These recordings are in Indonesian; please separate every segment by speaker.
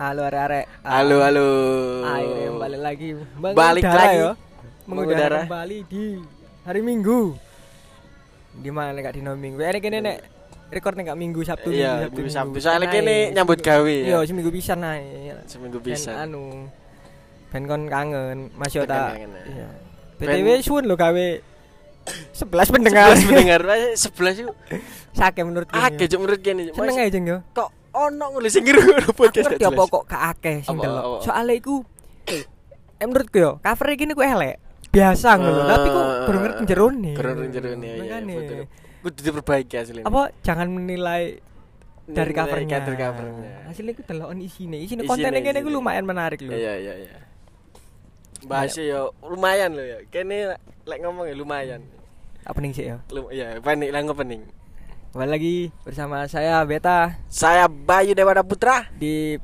Speaker 1: Halo arek-arek. Ah,
Speaker 2: Halo, halo.
Speaker 1: Akhirnya Ah, iya, balik lagi. Mengudara
Speaker 2: Balik lagi.
Speaker 1: yo. Mengudara
Speaker 2: Mengudara.
Speaker 1: kembali di hari Minggu. Di mana nek gak dino Minggu? Eh kene nek record nek gak Minggu Sabtu
Speaker 2: Iya,
Speaker 1: Minggu
Speaker 2: Minggu Sabtu.
Speaker 1: Minggu.
Speaker 2: Soalnya
Speaker 1: Nah,
Speaker 2: kene
Speaker 1: iya,
Speaker 2: nyambut gawe
Speaker 1: Iya,
Speaker 2: ya.
Speaker 1: seminggu pisan nae.
Speaker 2: Seminggu
Speaker 1: Ben
Speaker 2: pisan.
Speaker 1: anu. Ben kon kangen, Mas yo
Speaker 2: Ben
Speaker 1: tak.
Speaker 2: kangen, ya.
Speaker 1: Iya.
Speaker 2: Ben-
Speaker 1: BTW suwun lho gawe 11 pendengar.
Speaker 2: Sebelas mendengar, Mas. sebelas yuk.
Speaker 1: Sake menurut kene.
Speaker 2: Akeh cuk menurut kene. Cuk.
Speaker 1: Seneng
Speaker 2: Mas,
Speaker 1: ae jeng yo.
Speaker 2: Kok ono ngono sing ngiru podcast.
Speaker 1: ngerti
Speaker 2: gak
Speaker 1: apa
Speaker 2: jelas?
Speaker 1: kok gak akeh sing
Speaker 2: Apa, apa,
Speaker 1: delok.
Speaker 2: apa?
Speaker 1: Soale iku eh menurutku yo, cover gini ku elek. Biasa ngono,
Speaker 2: Ah,
Speaker 1: tapi ku kurang ngerti jerone.
Speaker 2: Kurang ngerti jerone, iya, iya,
Speaker 1: Makane,
Speaker 2: betul. Kudu diperbaiki asline.
Speaker 1: Apa jangan menilai dari covernya.
Speaker 2: Dari covernya.
Speaker 1: Hasilnya ku delok isine. Isine
Speaker 2: Isine,
Speaker 1: kontennya kene ku
Speaker 2: isine.
Speaker 1: lumayan menarik lho.
Speaker 2: Iya, iya, iya. Bahasnya ya lumayan loh ya. Kene lek ngomong ya lumayan.
Speaker 1: Apa ning sih yo?
Speaker 2: Lum ya pening lah pening.
Speaker 1: Kembali lagi bersama saya Beta
Speaker 2: Saya Bayu Dewata Putra.
Speaker 1: di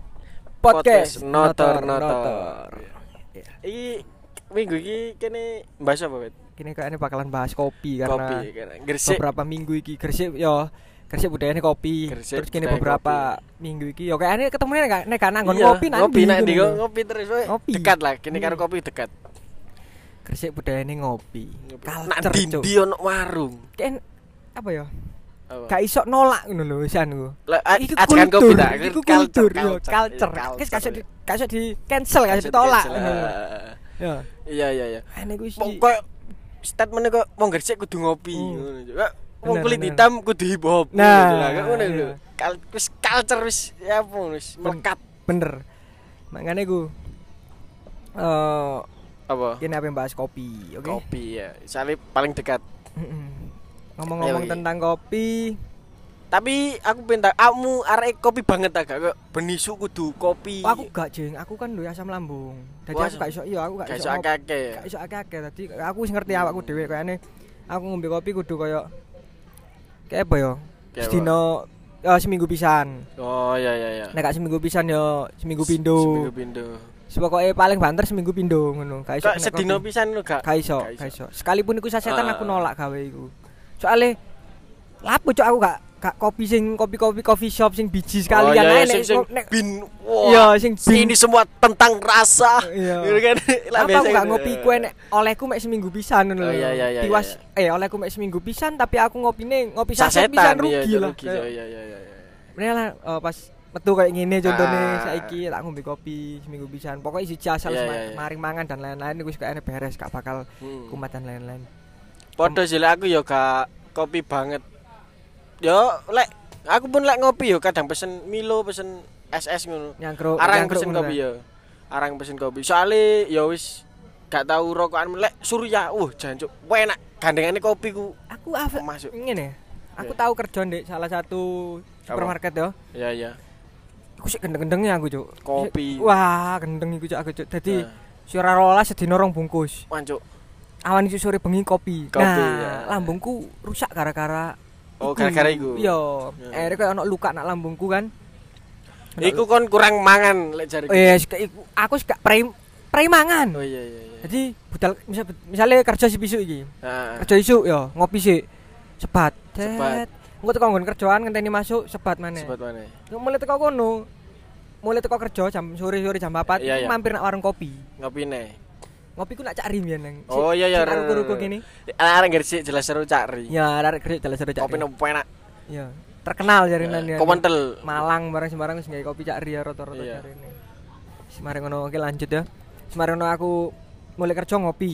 Speaker 1: podcast,
Speaker 2: notor
Speaker 1: Notor.
Speaker 2: notor. Iki minggu iki kene bahas apa, Bet?
Speaker 1: Kini kayaknya bakalan bahas kopi karena
Speaker 2: Kopi kene. Gresik.
Speaker 1: beberapa minggu iki Gresik yo Gresik budayanya kopi
Speaker 2: Gresik
Speaker 1: terus kini
Speaker 2: budaya
Speaker 1: beberapa minggu iki yo kayaknya ketemunya nek nek gak nanggon
Speaker 2: Iya,
Speaker 1: ngopi nanti
Speaker 2: Ngopi nang ndi,
Speaker 1: gitu
Speaker 2: kok
Speaker 1: loh.
Speaker 2: ngopi terus woy.
Speaker 1: Ngopi.
Speaker 2: Dekat lah, kene karo
Speaker 1: Hmm.
Speaker 2: kopi dekat.
Speaker 1: Gresik budayanya ngopi
Speaker 2: Nang
Speaker 1: culture cuk
Speaker 2: ndi ono warung.
Speaker 1: Kayak- apa ya
Speaker 2: Apa?
Speaker 1: gak iso nolak ngono lho anu. isan ku
Speaker 2: Lah, a-
Speaker 1: Iku
Speaker 2: ajakan kopi tak?
Speaker 1: iku kultur yo
Speaker 2: culture, iya,
Speaker 1: culture Guys, gak iso di
Speaker 2: culture.
Speaker 1: gak iso di cancel gak iso
Speaker 2: Culture,
Speaker 1: ditolak
Speaker 2: culture.
Speaker 1: ngono lho. yo
Speaker 2: Iya, iya, iya.
Speaker 1: ane ku sih
Speaker 2: ah. Pokok statementnya kok mau Gresik kudu ngopi
Speaker 1: Hmm.
Speaker 2: ngono, Cuk. Kok Wong
Speaker 1: Bener,
Speaker 2: kulit
Speaker 1: bener.
Speaker 2: hitam kudu hip hop.
Speaker 1: Nah,
Speaker 2: ngono, lah, kok ngono
Speaker 1: iya.
Speaker 2: lho. Kal- Wis culture wis ya apa wis melekat
Speaker 1: bener makanya ku eh
Speaker 2: apa?
Speaker 1: kini apa yang bahas kopi oke
Speaker 2: Kopi ya. Soalnya paling dekat.
Speaker 1: Mm-mm. ngomong-ngomong
Speaker 2: Ayo, Ki.
Speaker 1: tentang kopi
Speaker 2: Tapi aku pengen tak- kamu arek kopi banget agak kok benisu kudu kopi.
Speaker 1: Oh, aku gak jeng, aku kan duwe asam lambung. Dadi
Speaker 2: Oh,
Speaker 1: aku
Speaker 2: asam-
Speaker 1: gak iso iya, aku gak
Speaker 2: gak
Speaker 1: iso.
Speaker 2: iso
Speaker 1: ngop-
Speaker 2: akeh-akeh. ya?
Speaker 1: Gak iso akeh-akeh dadi aku wis ngerti awakku dhewe kayane aku ngombe kopi kudu koyo kayak apa yo?
Speaker 2: Kayak apa?
Speaker 1: Sedino ya seminggu pisan.
Speaker 2: Oh iya iya iya.
Speaker 1: Nek gak seminggu pisan yo seminggu pindo.
Speaker 2: Seminggu pindo.
Speaker 1: Sepokoke paling banter seminggu pindo ngono. Gak iso.
Speaker 2: Kok sedino pisan lu gak?
Speaker 1: Gak iso,
Speaker 2: Gak iso.
Speaker 1: gak iso. Sekalipun iku sasetan
Speaker 2: Ah.
Speaker 1: aku nolak gawe iku. Soale lapo cok aku gak gak kopi sing kopi-kopi coffee shop sing biji
Speaker 2: Oh,
Speaker 1: sekalian
Speaker 2: iya, iya,
Speaker 1: ae
Speaker 2: sing- sing
Speaker 1: nek nek
Speaker 2: bin.
Speaker 1: Iya,
Speaker 2: Wah.
Speaker 1: sing
Speaker 2: Ini semua tentang rasa.
Speaker 1: Iya.
Speaker 2: Gitu kan. Lah,
Speaker 1: Apa
Speaker 2: biasa
Speaker 1: aku gak
Speaker 2: gitu.
Speaker 1: ngopi kue nek olehku mek seminggu pisan ngono lho.
Speaker 2: Oh, iya, iya, iya,
Speaker 1: Tiwas eh olehku mek seminggu pisan tapi aku ngopine ngopi saset
Speaker 2: Sasetan
Speaker 1: pisan rugi
Speaker 2: iya,
Speaker 1: lah.
Speaker 2: Rugi. Iya iya iya iya.
Speaker 1: Bener lah eh, pas metu kayak gini contohnya
Speaker 2: Ah.
Speaker 1: saiki tak ngombe kopi seminggu pisan. Pokoknya isi jasa yeah,
Speaker 2: Iya, iya, iya.
Speaker 1: maring mangan dan lain-lain iku kayaknya beres gak bakal
Speaker 2: Hmm.
Speaker 1: kumat dan lain-lain.
Speaker 2: Podo sih lek aku ya gak kopi banget. Yo lek aku pun lek ngopi yo kadang pesen Milo, pesen SS ngono.
Speaker 1: Nyangkruk
Speaker 2: arang
Speaker 1: nyangkruk
Speaker 2: pesen
Speaker 1: Oh, ngono
Speaker 2: kopi
Speaker 1: lah.
Speaker 2: ya arang pesen kopi soalnya ya wis gak tahu rokokan lek surya wah jancuk enak gandengannya kopi ku
Speaker 1: Aku apa
Speaker 2: Masuk.
Speaker 1: ngene. Aku
Speaker 2: Iya.
Speaker 1: tahu kerja ndek salah satu supermarket yo.
Speaker 2: ya ya
Speaker 1: Aku sih gendeng-gendengnya aku cuk.
Speaker 2: Kopi.
Speaker 1: Wah, gendeng iku cuk aku cuk. Dadi
Speaker 2: Nah.
Speaker 1: Suara rolas sedina rong bungkus.
Speaker 2: Eh, wancuk
Speaker 1: awan iki sore bengi kopi.
Speaker 2: Kopi,
Speaker 1: nah,
Speaker 2: ya.
Speaker 1: lambungku rusak gara-gara
Speaker 2: oh gara-gara iku
Speaker 1: Yo,
Speaker 2: Ya.
Speaker 1: akhirnya kayak ono luka nak lambungku kan. Ono
Speaker 2: iku kon kurang mangan lek jariku
Speaker 1: luka. Yes, kayak iku- aku suka pre premangan.
Speaker 2: oh iya iya iya
Speaker 1: Jadi budal misal misalnya kerja si besok iki.
Speaker 2: Ah,
Speaker 1: Kerja isuk yo, ngopi sih. Sebat.
Speaker 2: Sebat.
Speaker 1: Cet. Engko teko nggon kerjaan ngenteni masuk sebat maneh.
Speaker 2: sebat mana
Speaker 1: Yo, Mulai teko kono. Mulai teko kerja jam sore-sore jam 4
Speaker 2: Iya, iya.
Speaker 1: mampir nak warung kopi.
Speaker 2: ngopi ne
Speaker 1: Ngopi ku nak cak rim ya neng. Si-
Speaker 2: oh iya iya
Speaker 1: si Aku kuruku gini.
Speaker 2: arang gersik jelas seru cari
Speaker 1: Ya, arek kerja dalan sore cak.
Speaker 2: kopi
Speaker 1: rim.
Speaker 2: nopo enak
Speaker 1: Iya, terkenal jarinan ya.
Speaker 2: Iya, komentel
Speaker 1: Malang barang sembarang wis nggawe kopi cak ya, Ria rata-rata
Speaker 2: Iya.
Speaker 1: jarine. Semare ngono oke lanjut ya. Semare ngono aku mulai kerja ngopi.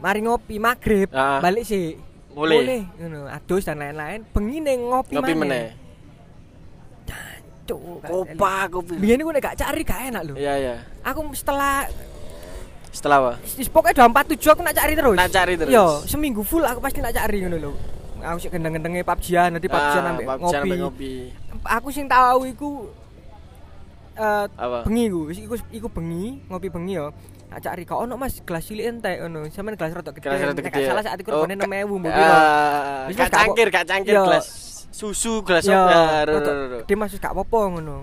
Speaker 1: Mari ngopi maghrib,
Speaker 2: Ah.
Speaker 1: balik sih.
Speaker 2: Boleh.
Speaker 1: ngono, adus dan lain-lain. Bengi ning ngopi,
Speaker 2: ngopi
Speaker 1: maneh.
Speaker 2: meneh
Speaker 1: Cuk.
Speaker 2: kopa kopi
Speaker 1: Biyen iku nek gak cari gak enak lho.
Speaker 2: iya iya
Speaker 1: Aku setelah
Speaker 2: setelah apa
Speaker 1: is- pokoknya 247 aku nak cari terus.
Speaker 2: Nak cari terus.
Speaker 1: Yo, seminggu full aku pasti nak cari ngono lho. Aku sih gendeng-gendenge PUBG-an, nanti PUBG-an
Speaker 2: Ah,
Speaker 1: ambek
Speaker 2: PUBG-an
Speaker 1: ngopi.
Speaker 2: ambek ngopi
Speaker 1: Aku sing tahu iku eh
Speaker 2: apa
Speaker 1: bengi iku wis iku iku bengi ngopi bengi yo tak cari kok ono mas gelas cilik entek ono sampean gelas rada gede
Speaker 2: Gelas rada
Speaker 1: Nek
Speaker 2: gede,
Speaker 1: gak
Speaker 2: ya?
Speaker 1: salah saat iku
Speaker 2: Oh,
Speaker 1: regane
Speaker 2: ka-
Speaker 1: 6000 mbok piro
Speaker 2: Ah,
Speaker 1: Wis,
Speaker 2: gak
Speaker 1: wis, gak
Speaker 2: cangkir, gak cangkir
Speaker 1: Yo.
Speaker 2: gelas susu, gelas
Speaker 1: yo
Speaker 2: apa? Ah,
Speaker 1: rada
Speaker 2: ro- ro- ro- ro.
Speaker 1: gede mas wis gak apa-apa ngono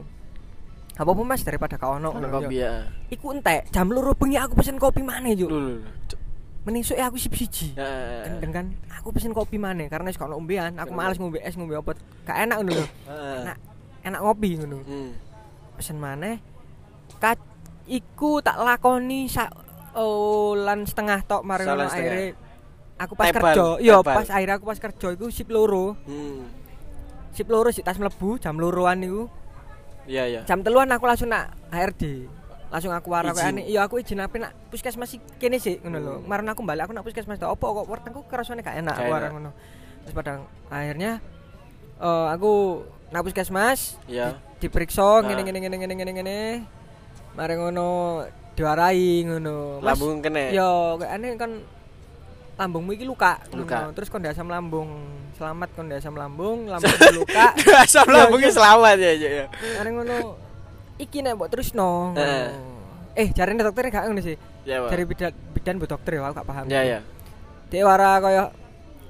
Speaker 1: gak apa-apa mas daripada gak ono
Speaker 2: Ono
Speaker 1: ngono,
Speaker 2: kopi
Speaker 1: yo.
Speaker 2: ya.
Speaker 1: iku entek jam loro bengi aku pesen kopi maneh
Speaker 2: Lu
Speaker 1: juk
Speaker 2: lu. lu.
Speaker 1: menisuk e aku sip siji
Speaker 2: Ya,
Speaker 1: gendeng kan aku pesen kopi maneh karena wis gak ono ombean aku males ngombe es ngombe obat gak enak ngono lho
Speaker 2: ah, ah.
Speaker 1: enak enak ngopi ngono
Speaker 2: Hmm.
Speaker 1: pesen maneh Ka iku tak lakoni sak oh, lan setengah tok mari
Speaker 2: Sak lan
Speaker 1: ngono
Speaker 2: setengah.
Speaker 1: akhirnya aku pas
Speaker 2: Tebal,
Speaker 1: kerja iya
Speaker 2: tebal.
Speaker 1: pas akhirnya aku pas kerja iku sip loro
Speaker 2: Hmm.
Speaker 1: sip loro sik tas mlebu jam loroan niku
Speaker 2: Iya iya.
Speaker 1: jam teluan aku langsung nak HRD langsung aku warah
Speaker 2: Izin.
Speaker 1: kayak aneh iya aku izin apa nak puskesmas sih kene sih ngono lho
Speaker 2: Hmm.
Speaker 1: marun aku balik aku nak puskesmas tak opo kok wertengku kerasane gak enak
Speaker 2: Gak
Speaker 1: aku
Speaker 2: enak.
Speaker 1: warah ngono terus padang akhirnya eh, aku nak puskesmas
Speaker 2: Iya.
Speaker 1: diperiksa
Speaker 2: Nah.
Speaker 1: ngene ngene ngene ngene ngene ngene mari ngono diwarai ngono Mas,
Speaker 2: Lambung eh. kena.
Speaker 1: yo kayak aneh kan lambungmu iki luka,
Speaker 2: Luka.
Speaker 1: ngono. terus kon ndek asam lambung selamat kon ndek asam lambung lambung luka
Speaker 2: Asam
Speaker 1: Iya,
Speaker 2: lambungnya
Speaker 1: iya.
Speaker 2: selamat ya ya. ya.
Speaker 1: Karena ngono iki nek mbok terusno. ngono.
Speaker 2: Heeh.
Speaker 1: Eh, jarine dokter gak ngono sih.
Speaker 2: Ya, Pak.
Speaker 1: Jari bidan bidan mbok dokter ya, aku gak paham.
Speaker 2: Ya ya.
Speaker 1: Dek wara kaya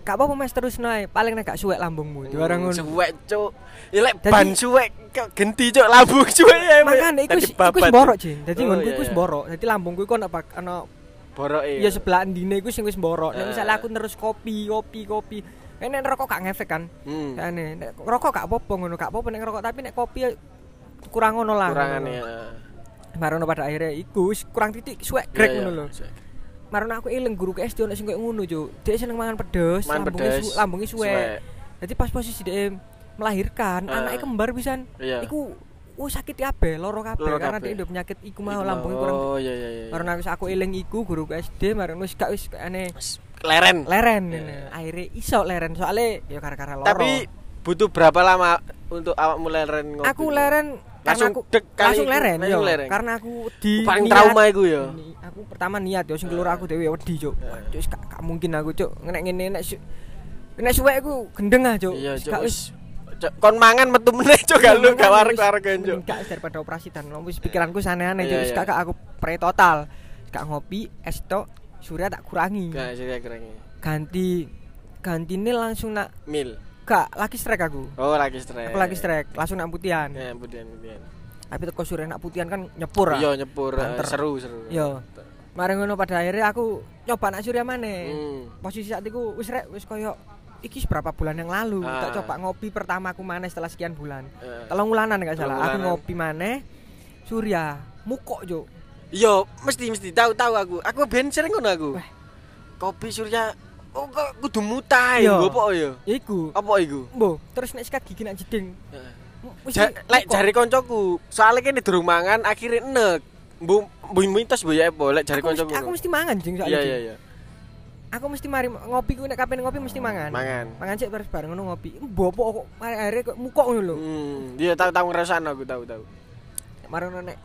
Speaker 1: gak apa-apa Mas terusno ae, paling nek gak suwek lambungmu. Diwara
Speaker 2: Hmm,
Speaker 1: ngono.
Speaker 2: Suwek cuk. Ya lek
Speaker 1: Jadi-
Speaker 2: ban suwek kok genti cuk lambung suwek. ya, Pak.
Speaker 1: Makane iku
Speaker 2: Jadi
Speaker 1: iku
Speaker 2: babat.
Speaker 1: borok, Jin. Dadi
Speaker 2: Oh,
Speaker 1: ngono
Speaker 2: iya,
Speaker 1: iku
Speaker 2: iya.
Speaker 1: borok. Dadi lambungku iku ana bak- ana
Speaker 2: Borok
Speaker 1: ya
Speaker 2: iya.
Speaker 1: sebelah ndine iku sing wis borok. Nek
Speaker 2: Heeh.
Speaker 1: misalnya aku terus kopi, kopi, kopi. Eh, Nek rokok gak ngefek kan?
Speaker 2: Hmm.
Speaker 1: Kayane nek rokok gak apa-apa ngono, gak apa-apa nek rokok tapi nek kopi ya kurang ngono lah.
Speaker 2: Kurangan
Speaker 1: ngono.
Speaker 2: ya.
Speaker 1: Marono pada akhirnya iku wis kurang titik suwek
Speaker 2: Iya,
Speaker 1: grek
Speaker 2: iya.
Speaker 1: ngono lho.
Speaker 2: Suwek.
Speaker 1: Marono aku eling guru ke SD ono sing koyo ngono cuk. Dia seneng mangan pedes,
Speaker 2: Mangan
Speaker 1: lambungnya
Speaker 2: pedes,
Speaker 1: su- lambungnya suwek.
Speaker 2: Suwek.
Speaker 1: Jadi pas posisi dia melahirkan,
Speaker 2: Ah.
Speaker 1: anaknya kembar pisan.
Speaker 2: Iya.
Speaker 1: Iku oh sakit kabeh, loro kabeh
Speaker 2: Loro
Speaker 1: karena
Speaker 2: kabeh.
Speaker 1: dia udah penyakit iku
Speaker 2: Iku
Speaker 1: mau
Speaker 2: mau.
Speaker 1: lambungnya kurang.
Speaker 2: Oh iya iya iya.
Speaker 1: Marono aku aku eling iku guru ke SD, marono wis gak wis kayak aneh
Speaker 2: Leren.
Speaker 1: leren
Speaker 2: Iya.
Speaker 1: ini. Akhirnya iso leren soalnya ya gara-gara loro.
Speaker 2: Tapi butuh berapa lama untuk awakmu leren ngopi?
Speaker 1: aku leren karena
Speaker 2: Langsung
Speaker 1: aku
Speaker 2: dek kali
Speaker 1: langsung
Speaker 2: iku,
Speaker 1: leren,
Speaker 2: langsung
Speaker 1: yo.
Speaker 2: leren.
Speaker 1: karena aku di
Speaker 2: Oh, paling
Speaker 1: niat-
Speaker 2: trauma iku yo.
Speaker 1: Ni- aku pertama niat yo sing keluar aku dhewe wedi cuk
Speaker 2: Heeh.
Speaker 1: Waduh, wis gak, gak mungkin aku cuk nek ngene nek su- nek suwek aku gendeng ah cuk
Speaker 2: Iya,
Speaker 1: Wis
Speaker 2: cuk.
Speaker 1: gak
Speaker 2: wis. Cuk, Kon mangan metu meneh cuk gak lu gak
Speaker 1: Makanya
Speaker 2: warek-warek
Speaker 1: wis-
Speaker 2: cuk.
Speaker 1: mending gak wis daripada operasi dan lo, wis pikiranku sana-aneh
Speaker 2: Iya,
Speaker 1: cuk wis
Speaker 2: iya.
Speaker 1: gak gak aku pre total gak ngopi es tok surya tak kurangi
Speaker 2: Gak sih kerengi.
Speaker 1: ganti gantine langsung nak
Speaker 2: Mil.
Speaker 1: gak lagi strike aku
Speaker 2: Oh, lagi strek.
Speaker 1: aku lagi strike langsung nak putihan
Speaker 2: Ya, budian budian.
Speaker 1: tapi teko surya nak putihan kan nyepur ah.
Speaker 2: Iya, nyepur eh,
Speaker 1: Banter.
Speaker 2: seru seru.
Speaker 1: Yo. Mari ngono pada akhirnya aku nyoba nak surya maneh.
Speaker 2: Hmm.
Speaker 1: Posisi saat itu wis rek wis koyo iki berapa bulan yang lalu
Speaker 2: Ah.
Speaker 1: tak coba ngopi pertama aku maneh setelah sekian bulan.
Speaker 2: Eh.
Speaker 1: Kalau ngulanan nggak salah,
Speaker 2: Telung
Speaker 1: aku
Speaker 2: wulanan.
Speaker 1: ngopi maneh surya mukok jo.
Speaker 2: Yo, mesti mesti tahu tahu aku. Aku ben sering ngono aku.
Speaker 1: Wah.
Speaker 2: Kopi Surya oh kok kudu mutai.
Speaker 1: Yo.
Speaker 2: Yo apa yo?
Speaker 1: Ya iku.
Speaker 2: Apa iku?
Speaker 1: Mbo, terus nek sikat gigi nak jeding.
Speaker 2: Heeh.
Speaker 1: M- wis
Speaker 2: Ja-
Speaker 1: mukok.
Speaker 2: lek jari koncoku, soalnya kene durung mangan akhire enek. Mbu mbu mintos mbu ya apa lek jari
Speaker 1: aku mesti,
Speaker 2: koncoku.
Speaker 1: aku mesti mangan jeng soalnya.
Speaker 2: Iya
Speaker 1: Jeng.
Speaker 2: iya iya.
Speaker 1: Aku mesti mari ngopi ku nek kapan ngopi mesti mangan.
Speaker 2: Mangan.
Speaker 1: Mangan sik terus bareng ngono ngopi. Mbo apa kok mari akhirnya kok mukok ngono lho.
Speaker 2: Hmm, dia tahu tahu ngrasakno aku tahu tahu.
Speaker 1: Marono nek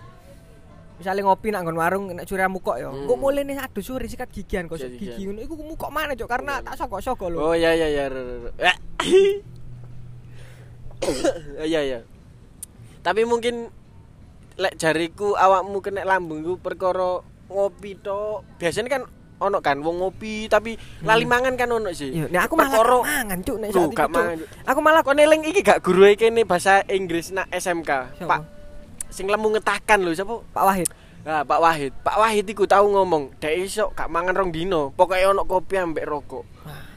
Speaker 1: misalnya ngopi nak nggon warung nek curi mukok yo.
Speaker 2: Hmm.
Speaker 1: Kok mulai nih aduh suri sikat gigian kok
Speaker 2: Sikat
Speaker 1: gigi
Speaker 2: gigian.
Speaker 1: ngono iku mukok mana cok karena tak sogok-sogok lho.
Speaker 2: Oh iya iya iya. ro, ro, ro. Eh. Iya iya. Tapi mungkin lek jariku awakmu kena lambungku perkara ngopi tok. Biasanya kan ono kan wong ngopi tapi lali mangan kan ono sih.
Speaker 1: Yo Hmm. nek aku malah gak
Speaker 2: Perkara-
Speaker 1: mangan cok nek
Speaker 2: Loh,
Speaker 1: saat itu.
Speaker 2: gak
Speaker 1: Cuk.
Speaker 2: mangan, Cuk.
Speaker 1: Aku malah
Speaker 2: Kok neling iki gak guru kene bahasa Inggris nak SMK.
Speaker 1: Siapa?
Speaker 2: Pak sing lemu ngetakan lho siapa?
Speaker 1: Pak Wahid.
Speaker 2: Nah, Pak Wahid. Pak Wahid iku tau ngomong, "Dek iso gak mangan rong dino, pokoke ono kopi ambek rokok."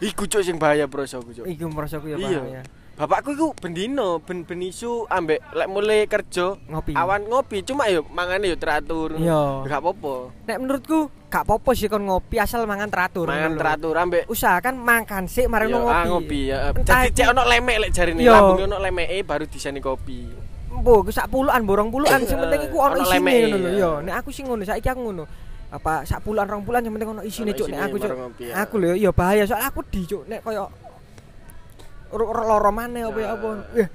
Speaker 2: Iku cuk sing bahaya prosoku cuk.
Speaker 1: Iku merasa aku ya
Speaker 2: Iya.
Speaker 1: paham ya.
Speaker 2: Bapakku iku bendino, ben ben isu ambek lek mulai kerja
Speaker 1: Ngopi.
Speaker 2: awan ngopi, cuma yo mangane yo teratur.
Speaker 1: Iya.
Speaker 2: Gak apa-apa.
Speaker 1: Nek menurutku gak apa-apa sih kon ngopi asal mangan teratur.
Speaker 2: Mangan
Speaker 1: ngono lho.
Speaker 2: teratur ambek
Speaker 1: Usahakan makan sik mari
Speaker 2: Yo,
Speaker 1: ngopi.
Speaker 2: ah, ngopi ya.
Speaker 1: Entah
Speaker 2: Jadi
Speaker 1: iki-
Speaker 2: cek ono lemek lek jarine,
Speaker 1: Iya.
Speaker 2: lambung ono lemeke baru diseni kopi.
Speaker 1: Mbo, ku sak puluhan, borong puluhan, sing penting iku ono
Speaker 2: Ono
Speaker 1: isine
Speaker 2: lemeke,
Speaker 1: ngono lho.
Speaker 2: iya.
Speaker 1: Yo, nek aku sing ngono, saiki aku ngono. Apa sak puluhan, rong puluhan sing penting ono isine
Speaker 2: Ono
Speaker 1: cuk nek
Speaker 2: isine,
Speaker 1: aku cuk.
Speaker 2: baru ngopi, ya.
Speaker 1: Aku lho ya bahaya soal aku di cuk nek koyo ro- ro- loro maneh apa ya
Speaker 2: Nah.
Speaker 1: apa. Eh,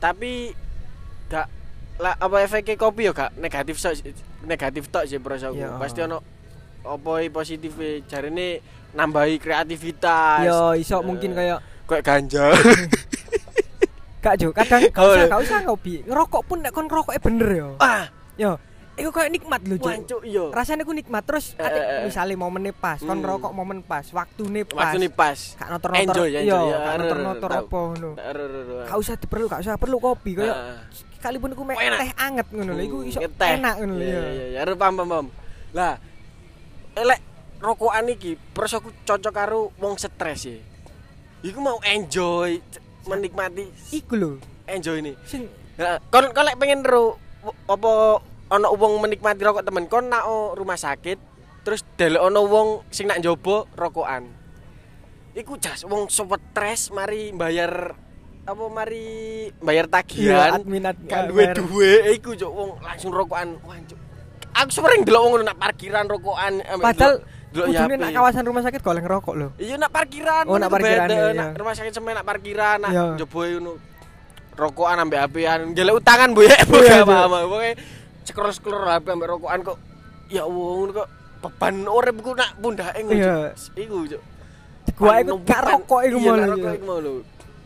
Speaker 2: Tapi gak lah apa efeknya kopi yo gak negatif so, negatif tok sih prosoku.
Speaker 1: Iya.
Speaker 2: Pasti ono opo e positifnya jarine nambahi kreativitas.
Speaker 1: Yo iya, iso mungkin koyo
Speaker 2: kayak ganja.
Speaker 1: gak cuk, kadang gak
Speaker 2: Oh,
Speaker 1: usah
Speaker 2: iya.
Speaker 1: gak usah ngopi. Ngerokok pun nek kon ngerokoke bener yo.
Speaker 2: ah,
Speaker 1: Yo, iku koyo nikmat lho cuk.
Speaker 2: wancuk yo.
Speaker 1: Rasanya ku nikmat terus
Speaker 2: Eh, eh, eh.
Speaker 1: atik misalnya momennya pas, kon
Speaker 2: Hmm.
Speaker 1: rokok momen pas, waktune pas.
Speaker 2: Waktu nih pas.
Speaker 1: Gak notor-notor.
Speaker 2: Enjoy, enjoy,
Speaker 1: Yo, gak
Speaker 2: ya, ero, ero,
Speaker 1: notor-notor
Speaker 2: tau.
Speaker 1: apa ngono.
Speaker 2: Gak
Speaker 1: gak usah diperlu gak usah perlu kopi koyo
Speaker 2: Heeh.
Speaker 1: sekalipun iku mek
Speaker 2: Nah. Enak.
Speaker 1: teh anget ngono lho iku iso enak ngono lho
Speaker 2: Iya
Speaker 1: ya
Speaker 2: iya iya, arep paham paham, paham. Lah elek rokokan iki terus aku cocok karo wong stres ya. Iku mau enjoy c- menikmati s-
Speaker 1: iku lho
Speaker 2: enjoy ini.
Speaker 1: sing
Speaker 2: Heeh. Kon kon lek pengen ro w- apa ono wong menikmati rokok temen kon nak o rumah sakit terus delok ono wong sing nak njobo rokokan iku jas wong sobat tres mari bayar apa mari bayar tagihan
Speaker 1: admin admin
Speaker 2: kan
Speaker 1: bayar.
Speaker 2: duwe duwe iku cuk wong langsung rokokan wah cuk aku sering delok wong ngono nak parkiran rokokan ambek
Speaker 1: Padahal
Speaker 2: delok- delok
Speaker 1: ujungnya
Speaker 2: HP.
Speaker 1: nak kawasan rumah sakit goleng rokok loh.
Speaker 2: Iya nak parkiran.
Speaker 1: Oh, nak
Speaker 2: itu
Speaker 1: parkiran,
Speaker 2: beda.
Speaker 1: iya,
Speaker 2: Nak
Speaker 1: iya.
Speaker 2: rumah sakit sampe nak parkiran, nak
Speaker 1: Iya.
Speaker 2: jebol ngono. Rokokan ambek HP-an, gelek utangan Bu ya. Bu
Speaker 1: Iya,
Speaker 2: gak
Speaker 1: iya.
Speaker 2: apa-apa. Pokoke cekrus-cekrus HP ambek rokokan kok ya Allah ngono kok beban uripku nak pundake ngono.
Speaker 1: Iya.
Speaker 2: Cuk. Iku Cuk.
Speaker 1: Gua iku gak rokok iku
Speaker 2: Iya, nak
Speaker 1: malah.
Speaker 2: Rokok
Speaker 1: iya.
Speaker 2: iku mau lho.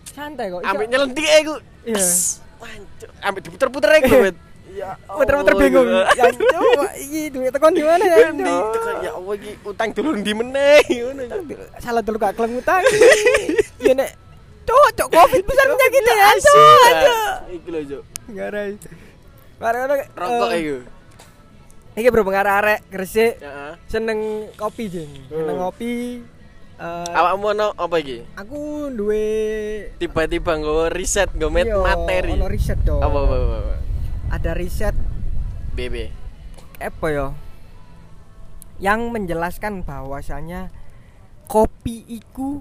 Speaker 1: Santai kok.
Speaker 2: Ambek
Speaker 1: iso-
Speaker 2: nyelentik iku.
Speaker 1: Oh, Iya.
Speaker 2: Tes. Wancuk. Ambek diputer-puter iku,
Speaker 1: Iya.
Speaker 2: Bet. Ya. Allah,
Speaker 1: Muter-muter bingung.
Speaker 2: Cuk.
Speaker 1: Ya coba iki duit tekan di mana ya?
Speaker 2: Endi,
Speaker 1: Cuk?
Speaker 2: iya. tekan, Ya Allah iki utang dulur ndi meneh ngono. Cuk.
Speaker 1: Salah dulu gak kelem utang. Ya nek Cuk, cuk, covid besar penyakitnya
Speaker 2: iya,
Speaker 1: ya, cuk, cuk.
Speaker 2: Ah, Iku lho, Cuk.
Speaker 1: Garai. Barang-barang
Speaker 2: Rokok
Speaker 1: eh,
Speaker 2: iku.
Speaker 1: Iki berhubung arek-arek Gresik
Speaker 2: Heeh.
Speaker 1: seneng kopi jeng. Seneng
Speaker 2: Hmm.
Speaker 1: kopi. eh,
Speaker 2: Awakmu ono apa iki?
Speaker 1: aku duwe
Speaker 2: Tiba-tiba nggo riset, nggo met-
Speaker 1: Iya,
Speaker 2: materi.
Speaker 1: ono riset dong.
Speaker 2: Apa apa apa. apa?
Speaker 1: Ada riset
Speaker 2: BB.
Speaker 1: apa ya? Yang menjelaskan bahwasanya kopi iku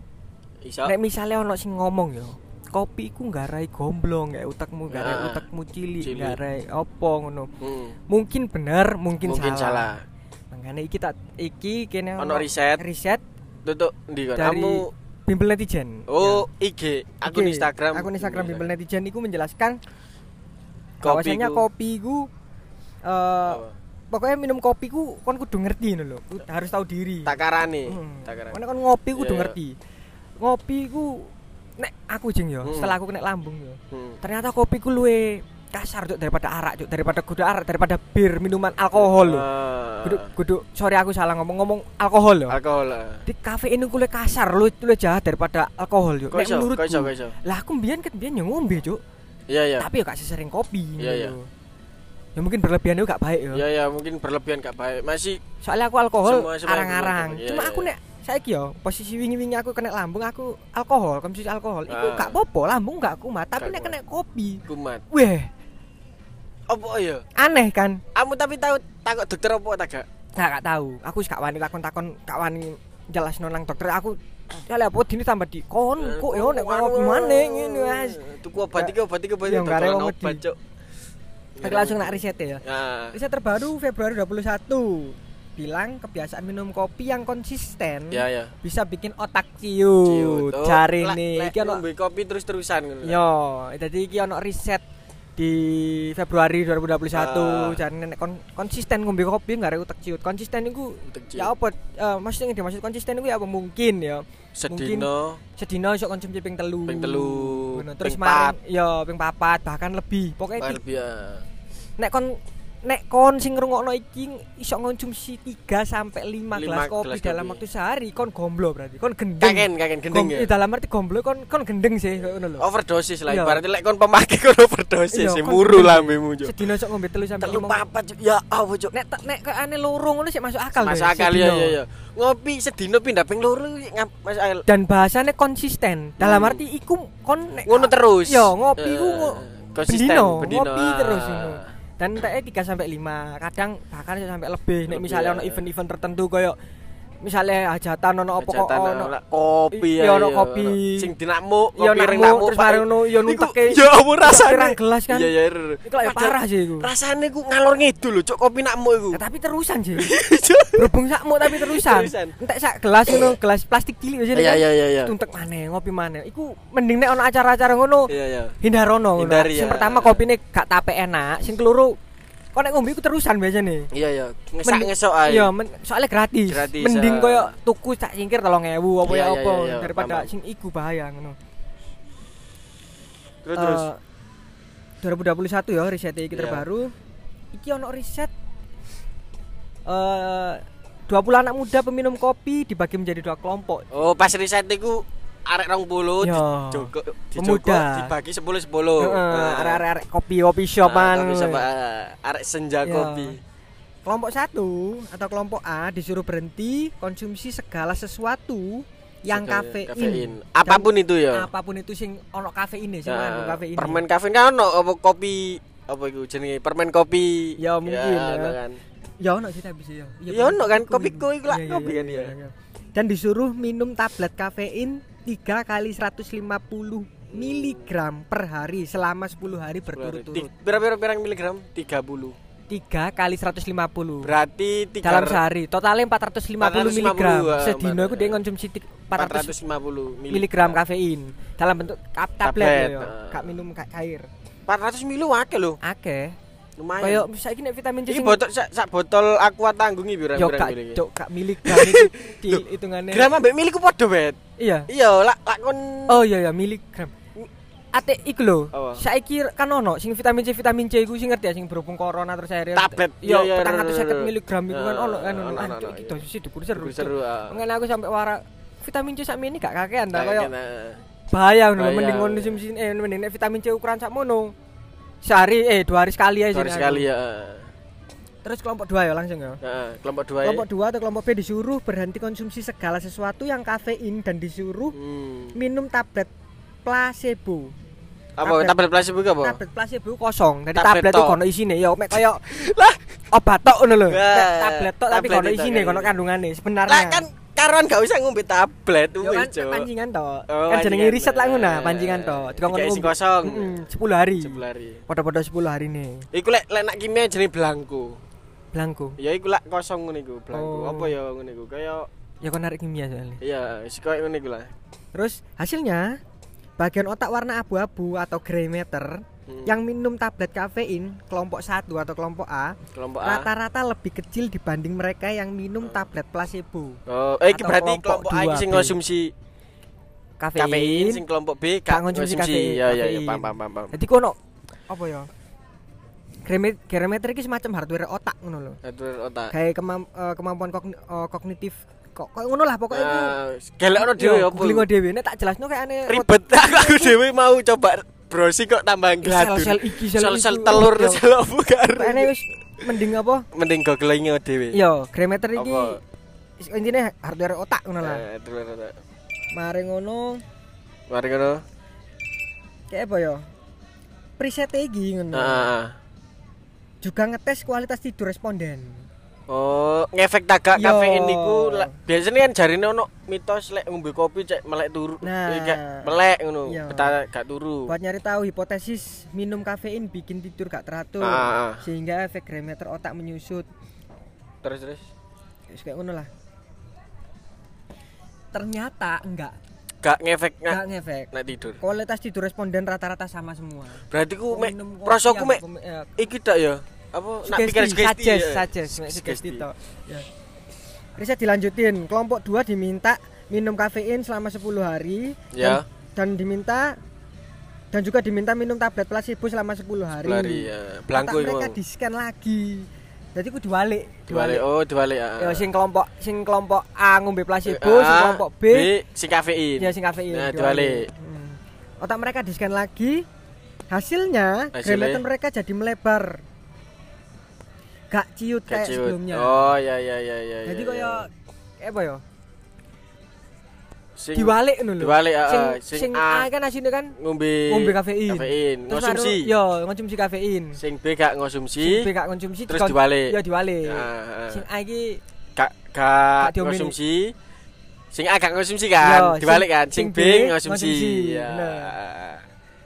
Speaker 2: Iso.
Speaker 1: nek misalnya ono sing ngomong ya, kopi iku nggarai gomblong ya utakmu nggarai
Speaker 2: Ah,
Speaker 1: utakmu cilik,
Speaker 2: cilik.
Speaker 1: nggarai apa ngono.
Speaker 2: Hmm.
Speaker 1: Mungkin bener, mungkin,
Speaker 2: Mungkin salah.
Speaker 1: Makanya iki tak iki kene
Speaker 2: Ono riset.
Speaker 1: riset
Speaker 2: Tutuk ndi kon?
Speaker 1: Dari-
Speaker 2: Kamu
Speaker 1: bimbel netizen. Ya.
Speaker 2: Oh, IG, akun
Speaker 1: Oke,
Speaker 2: Instagram. Iya.
Speaker 1: akun Instagram bimbel netizen iku menjelaskan
Speaker 2: Kopi
Speaker 1: bahwasanya
Speaker 2: ku.
Speaker 1: kopi iku eh
Speaker 2: Apa?
Speaker 1: pokoknya minum kopi ku kon kudu ngerti ngono lho. Ku harus tahu diri.
Speaker 2: Takarane.
Speaker 1: Hmm.
Speaker 2: Takarane.
Speaker 1: Karena kon ngopi kudu
Speaker 2: Iya, iya.
Speaker 1: ngerti. Ngopi ku nek aku jeng yo,
Speaker 2: Hmm.
Speaker 1: setelah aku kena lambung yo.
Speaker 2: Hmm.
Speaker 1: Ternyata kopi ku luwe kasar cuk daripada arak cuk, daripada kudu arak, daripada bir, minuman alkohol lho.
Speaker 2: Ah,
Speaker 1: Kudu kudu sorry aku salah ngomong ngomong alkohol lho.
Speaker 2: Alkohol. ah.
Speaker 1: Di kafein ku luwe kasar, luwe, luwe jahat daripada alkohol yo.
Speaker 2: Kok
Speaker 1: Nek
Speaker 2: iso?
Speaker 1: menurutku.
Speaker 2: Kok iso? Kok iso?
Speaker 1: Lah aku mbiyen ket mbiyen yo ngombe cuk.
Speaker 2: Iya, iya.
Speaker 1: tapi ya gak sesering kopi
Speaker 2: Iya, iya.
Speaker 1: gitu. ya mungkin berlebihan itu gak baik ya
Speaker 2: Iya, iya, mungkin berlebihan gak baik. Masih
Speaker 1: soalnya aku alkohol
Speaker 2: Semua- semua
Speaker 1: arang-arang
Speaker 2: berlebihan, iya,
Speaker 1: cuma
Speaker 2: iya,
Speaker 1: aku
Speaker 2: iya.
Speaker 1: nek saiki ya posisi wingi-wingi aku kena lambung aku alkohol konsumsi alkohol iku
Speaker 2: Ah.
Speaker 1: gak apa-apa lambung gak kumat tapi nek
Speaker 2: Gak kumat.
Speaker 1: kena kopi
Speaker 2: kumat.
Speaker 1: weh
Speaker 2: Apa ya?
Speaker 1: aneh kan
Speaker 2: Kamu tapi tahu takut dokter apa tak gak?
Speaker 1: gak gak tahu aku wis gak wani takon-takon gak wani jelas nonang dokter aku ya lah apa dini tambah di
Speaker 2: Ya,
Speaker 1: kon Hmm, kok yo nek kopi mana ngene mas
Speaker 2: Tuku obat iki obat iki obat
Speaker 1: Ya,
Speaker 2: iki
Speaker 1: nggak
Speaker 2: dodolan
Speaker 1: rewel
Speaker 2: obat,
Speaker 1: wedi.
Speaker 2: Cuk.
Speaker 1: aku langsung nak riset ya
Speaker 2: Nah,
Speaker 1: riset terbaru Februari 21 bilang kebiasaan minum kopi yang konsisten
Speaker 2: ya ya.
Speaker 1: bisa bikin otak ciut
Speaker 2: Ciut.
Speaker 1: cari
Speaker 2: Lek-
Speaker 1: nih
Speaker 2: lek
Speaker 1: iki ono Ya,
Speaker 2: ngombe kopi terus-terusan ngono.
Speaker 1: yo jadi iki ono riset di Februari 2021
Speaker 2: Ah.
Speaker 1: jadi nek kon konsisten ngombe kopi nggak ada utak ciut konsisten itu
Speaker 2: Utek ciut.
Speaker 1: ya apa eh, maksudnya yang dimaksud konsisten itu ya apa mungkin ya
Speaker 2: Sedino
Speaker 1: sedina iso konsumsi ping telu
Speaker 2: Ping telu,
Speaker 1: Ngono. terus
Speaker 2: ping
Speaker 1: maring yo ping papat bahkan lebih pokoknya di-
Speaker 2: Barbia.
Speaker 1: nek kon nek kon sing ngrungokno iki iso konsumsi 3 sampai 5
Speaker 2: Lima
Speaker 1: gelas kopi
Speaker 2: gelas
Speaker 1: dalam
Speaker 2: kopi.
Speaker 1: waktu sehari kon gomblo berarti kon gendeng
Speaker 2: Kaken kaken gendeng
Speaker 1: Gom-
Speaker 2: ya. Oh,
Speaker 1: eh, dalam arti gomblo kon kon gendeng sih kayak ngono lho.
Speaker 2: Overdosis lah
Speaker 1: Iya.
Speaker 2: ibaratnya lek kon pemakai kon overdosis
Speaker 1: Iya,
Speaker 2: sih
Speaker 1: kon
Speaker 2: muru
Speaker 1: gendeng.
Speaker 2: lambemu, Cuk.
Speaker 1: Sedina sok ngombe telu sampai
Speaker 2: Telu
Speaker 1: lima.
Speaker 2: papat, Cuk. Ya Allah, Cuk.
Speaker 1: Nek te- nek kayak aneh loro ngono sih masuk akal.
Speaker 2: Masuk
Speaker 1: deh,
Speaker 2: akal ya
Speaker 1: sedina.
Speaker 2: ya ya. Ngopi sedino pindah ping loro ngap- masuk akal.
Speaker 1: Dan bahasanya konsisten. Dalam
Speaker 2: Hmm.
Speaker 1: arti iku kon nek
Speaker 2: Ngono terus.
Speaker 1: Yo, ngopi
Speaker 2: Eh,
Speaker 1: ku ngo-
Speaker 2: konsisten
Speaker 1: bendino,
Speaker 2: bendino,
Speaker 1: ngopi
Speaker 2: ah.
Speaker 1: terus ngono. Dan enteknya 3 sampai 5, kadang bahkan iso sampai lebih. Nek
Speaker 2: Lebih,
Speaker 1: misalnya
Speaker 2: ya.
Speaker 1: ono event-event tertentu koyo misalnya hajatan ono apa kok
Speaker 2: Hajatan,
Speaker 1: ono
Speaker 2: lah, kopi
Speaker 1: Iya,
Speaker 2: ya,
Speaker 1: ono kopi.
Speaker 2: sing dinakmu
Speaker 1: Iya, nakmu, terus mari ngono, iya, nunteke.
Speaker 2: ya apa rasane
Speaker 1: pirang gelas kan.
Speaker 2: iya iya
Speaker 1: Iku lah ya parah sih iku.
Speaker 2: rasane ku ngalor ngidul lho cuk kopi nakmu iku
Speaker 1: Ya, tapi terusan sih. Berhubung sakmu tapi terusan.
Speaker 2: Terusan.
Speaker 1: Entek sak gelas ngono, gelas plastik cilik wis
Speaker 2: iya iya iya iya
Speaker 1: Tuntek maneh, ngopi maneh. Iku mending nek ono acara-acara ngono
Speaker 2: iya iya
Speaker 1: hindarono ngono.
Speaker 2: Hindari,
Speaker 1: Sing
Speaker 2: ya.
Speaker 1: pertama kopine gak tape enak, sing keloro kok nek ngombe iku terusan biasane.
Speaker 2: iya iya ngesak
Speaker 1: Mending-
Speaker 2: ngesok ae
Speaker 1: Iya, men- soalnya gratis.
Speaker 2: Gratis,
Speaker 1: Mending
Speaker 2: ah.
Speaker 1: koyo tuku tak singkir 3000 apa
Speaker 2: Iya,
Speaker 1: ya
Speaker 2: iya,
Speaker 1: apa
Speaker 2: iya, iya,
Speaker 1: daripada
Speaker 2: paham.
Speaker 1: sing iku bahaya ngono.
Speaker 2: terus terus
Speaker 1: Eh, 2021 ya riset iki
Speaker 2: Iya.
Speaker 1: terbaru. Iki ono riset eh 20 anak muda peminum kopi dibagi menjadi dua kelompok.
Speaker 2: oh pas riset iku arek 20
Speaker 1: Iya.
Speaker 2: dijogo dijogo
Speaker 1: Pemuda.
Speaker 2: dibagi 10 10
Speaker 1: Heeh,
Speaker 2: Ah.
Speaker 1: arek-arek kopi-kopi shopan.
Speaker 2: Ah, kopi sama, ah, arek senja
Speaker 1: Iya.
Speaker 2: kopi
Speaker 1: Kelompok satu atau kelompok A disuruh berhenti konsumsi segala sesuatu yang
Speaker 2: Segala-
Speaker 1: kafein.
Speaker 2: apapun itu ya
Speaker 1: Apapun itu sing ono kafein sing
Speaker 2: Ah,
Speaker 1: mengandung kafein. ya.
Speaker 2: permen kafein kan ono apa kopi apa iku jenenge permen kopi.
Speaker 1: Ya, mungkin, ya.
Speaker 2: ono kan.
Speaker 1: Ya ono sih tapi sih ya.
Speaker 2: Ya ono kan,
Speaker 1: kopi
Speaker 2: kopiku iku lah, kopi kan ya.
Speaker 1: Dan disuruh minum tablet kafein 3 kali 150 miligram per hari selama 10 hari berturut-turut.
Speaker 2: Ti- Berapa berapa miligram? 30.
Speaker 1: 3 kali 150
Speaker 2: Berarti 3
Speaker 1: dalam sehari. Totalnya 450 miligram.
Speaker 2: 450, ah,
Speaker 1: Sedino
Speaker 2: Mbak.
Speaker 1: iku dia konsumsi ti- 400
Speaker 2: 450
Speaker 1: miligram kan? kafein dalam bentuk kap
Speaker 2: Tablet,
Speaker 1: tablet, ya.
Speaker 2: ah.
Speaker 1: Kak minum kak cair.
Speaker 2: 400 mili akeh lho.
Speaker 1: Akeh.
Speaker 2: Lumayan.
Speaker 1: Kayak saiki nek vitamin C
Speaker 2: Iki
Speaker 1: sing-
Speaker 2: botol sak, sak botol aqua tanggung iki
Speaker 1: yo
Speaker 2: pirang-pirang
Speaker 1: kak
Speaker 2: mili iki.
Speaker 1: cok kak miligram itu dihitungane.
Speaker 2: Gram ambek mili ku padha, Bet.
Speaker 1: Iya.
Speaker 2: Iya, lak lak kon
Speaker 1: Oh iya ya miligram. Ate iku lho.
Speaker 2: Apa?
Speaker 1: Saiki kan ono sing vitamin C vitamin C iku sing ngerti ya sing berhubung corona terus akhirnya
Speaker 2: Tablet. Iya,
Speaker 1: Yo
Speaker 2: iya,
Speaker 1: 450
Speaker 2: iya,
Speaker 1: miligram iku kan
Speaker 2: iya,
Speaker 1: ono kan
Speaker 2: iya,
Speaker 1: ono
Speaker 2: ono,
Speaker 1: Ancuk,
Speaker 2: ono,
Speaker 1: iki
Speaker 2: iya.
Speaker 1: dosis dhuwur seru.
Speaker 2: Dhuwur seru, ah.
Speaker 1: Mungkin aku sampai wara vitamin C sakmene gak kakean ta
Speaker 2: Nah,
Speaker 1: koyo
Speaker 2: kena.
Speaker 1: bahaya ngono
Speaker 2: Bahaya.
Speaker 1: mending konsumsi eh mending nek vitamin C ukuran sakmono. Sehari eh dua hari sekali aja.
Speaker 2: Sorry
Speaker 1: sih,
Speaker 2: sekali
Speaker 1: aku.
Speaker 2: ya.
Speaker 1: Terus kelompok dua ya langsung ya.
Speaker 2: Heeh, kelompok 2.
Speaker 1: Kelompok dua atau kelompok B disuruh berhenti konsumsi segala sesuatu yang kafein dan disuruh
Speaker 2: Hmm.
Speaker 1: minum tablet placebo. Tablet.
Speaker 2: Apa tabel plastik iku apa?
Speaker 1: tablet placebo kosong jadi
Speaker 2: Tablet
Speaker 1: tablet, tuh
Speaker 2: tok.
Speaker 1: kono isine ya mek kaya
Speaker 2: Lah,
Speaker 1: obat tok ngono lho
Speaker 2: Ya,
Speaker 1: Nek tablet tok tapi
Speaker 2: tablet
Speaker 1: kono
Speaker 2: itu
Speaker 1: isine
Speaker 2: kayak
Speaker 1: kono
Speaker 2: gitu.
Speaker 1: kandungane sebenarnya
Speaker 2: lah kan karuan gak usah ngombe tablet
Speaker 1: ya
Speaker 2: wis,
Speaker 1: kan
Speaker 2: Cok.
Speaker 1: pancingan tok
Speaker 2: Oh,
Speaker 1: kan jenenge
Speaker 2: pancingan.
Speaker 1: riset lah ngono
Speaker 2: Eh,
Speaker 1: pancingan tok
Speaker 2: dikasih
Speaker 1: ngombe.
Speaker 2: kosong.
Speaker 1: Mm-mm, 10 hari
Speaker 2: Jebulari.
Speaker 1: pada-pada 10 hari nih
Speaker 2: Iku lek lek nak kimia jenenge blangko.
Speaker 1: belangku
Speaker 2: Ya iku lek kosong ngene iku
Speaker 1: Oh.
Speaker 2: blangko. Apa ya ngene iku? Kaya
Speaker 1: ya kono narik kimia soalnya
Speaker 2: ya wis koyo ngene iku lah.
Speaker 1: terus hasilnya bagian otak warna abu-abu atau gray matter
Speaker 2: Hmm.
Speaker 1: yang minum tablet kafein kelompok 1 atau kelompok A
Speaker 2: Kelompok A.
Speaker 1: rata-rata lebih kecil dibanding mereka yang minum
Speaker 2: Hmm.
Speaker 1: tablet placebo
Speaker 2: Oh, eh iki
Speaker 1: Atau
Speaker 2: berarti
Speaker 1: kelompok
Speaker 2: kelompok A iki
Speaker 1: 2B.
Speaker 2: sing konsumsi
Speaker 1: kafein,
Speaker 2: kafein, sing kelompok B
Speaker 1: gak
Speaker 2: gak
Speaker 1: konsumsi kafein.
Speaker 2: Ya ya ya
Speaker 1: Kafein.
Speaker 2: paham paham paham. paham.
Speaker 1: Jadi kono apa ya? Kremet kremeter iki semacam hardware otak ngono lho.
Speaker 2: Atur otak.
Speaker 1: Kayak kemam- eh, kemampuan kogn- eh, kognitif kok koyo ngono lah pokoknya iku.
Speaker 2: Gelek Nah, ono Eh, dhewe
Speaker 1: Yo,
Speaker 2: apa?
Speaker 1: googling-o dhewe nek tak jelasno kayak aneh
Speaker 2: Ribet aku aku dhewe mau coba browsing kok tambah gladur.
Speaker 1: sel-sel iki, sel
Speaker 2: Sel-sel
Speaker 1: itu.
Speaker 2: telur,
Speaker 1: Yo.
Speaker 2: sel apa
Speaker 1: kok aneh
Speaker 2: karo.
Speaker 1: wis mending apa?
Speaker 2: Mending googling dhewe.
Speaker 1: Yo, kremeter iki
Speaker 2: Iya. Apa?
Speaker 1: intinya hardware otak ngono lah.
Speaker 2: Eh, telur otak.
Speaker 1: Mari ngono
Speaker 2: Mari ngono.
Speaker 1: kayak apa ya? Preset iki ngono.
Speaker 2: Heeh.
Speaker 1: Juga ngetes kualitas tidur responden.
Speaker 2: Oh, ngefek tagak
Speaker 1: Yo.
Speaker 2: kafein niku lek- biasanya kan jarine ono mitos lek ngombe kopi cek melek turu.
Speaker 1: Nah.
Speaker 2: Eh, gak melek ngono.
Speaker 1: Yo.
Speaker 2: Betah gak turu.
Speaker 1: Buat nyari tahu hipotesis minum kafein bikin tidur gak teratur
Speaker 2: Ah, ah.
Speaker 1: sehingga efek diameter otak menyusut.
Speaker 2: Terus terus.
Speaker 1: Terus kayak ngono lah. Ternyata enggak,
Speaker 2: Gak ngefek
Speaker 1: enggak
Speaker 2: nak
Speaker 1: ngefek.
Speaker 2: nak tidur.
Speaker 1: Kualitas tidur responden rata-rata sama semua.
Speaker 2: Berarti ku mek
Speaker 1: Minum kopi
Speaker 2: prosoku
Speaker 1: yang
Speaker 2: mek
Speaker 1: pem- eh,
Speaker 2: iki tak ya. Apa nak pikir
Speaker 1: sugesti,
Speaker 2: sugesti.
Speaker 1: suggest,
Speaker 2: ya?
Speaker 1: suggest, mek sugesti
Speaker 2: Sugesti.
Speaker 1: tok. Ya. Riset dilanjutin, kelompok 2 diminta minum kafein selama 10 hari
Speaker 2: Ya.
Speaker 1: dan, dan diminta dan juga diminta minum tablet placebo selama 10 hari.
Speaker 2: Lari ya.
Speaker 1: Otak
Speaker 2: Blangko iku.
Speaker 1: mereka di scan lagi jadi aku diwalik
Speaker 2: Diwale oh Eh, diwale.
Speaker 1: ya sing kelompok sing kelompok A ngombe placebo sing kelompok B,
Speaker 2: ah, si kafein.
Speaker 1: ya sing kafein
Speaker 2: Nah,
Speaker 1: diwalik.
Speaker 2: diwale.
Speaker 1: Hmm. otak mereka di scan lagi hasilnya
Speaker 2: Hasilnya?
Speaker 1: gramater mereka jadi melebar gak ciut kayak
Speaker 2: Kecut.
Speaker 1: sebelumnya
Speaker 2: Oh ya ya ya ya.
Speaker 1: jadi
Speaker 2: ya,
Speaker 1: kaya
Speaker 2: ya.
Speaker 1: kayak apa ya
Speaker 2: Sing-
Speaker 1: diwalik ngono lho
Speaker 2: Diwalik, ah,
Speaker 1: sing,
Speaker 2: ah. Sing
Speaker 1: sing
Speaker 2: A-
Speaker 1: A kan hasilnya kan
Speaker 2: ngombe
Speaker 1: ngombe kafein
Speaker 2: Kafein.
Speaker 1: Terus
Speaker 2: Konsumsi.
Speaker 1: baru- yo konsumsi kafein
Speaker 2: Sing B gak ngonsumsi.
Speaker 1: sing B gak konsumsi
Speaker 2: terus
Speaker 1: dikon-
Speaker 2: diwalik.
Speaker 1: ya diwalik
Speaker 2: Ah, ah, ah.
Speaker 1: sing A iki
Speaker 2: Gak gak
Speaker 1: Gak diombeni.
Speaker 2: ngonsumsi. Sing A gak ngonsumsi
Speaker 1: Yo,
Speaker 2: kan, diwale
Speaker 1: sing-
Speaker 2: kan.
Speaker 1: sing
Speaker 2: Sing
Speaker 1: B
Speaker 2: B
Speaker 1: ngonsumsi.
Speaker 2: ngonsumsi. Ya.
Speaker 1: Bener.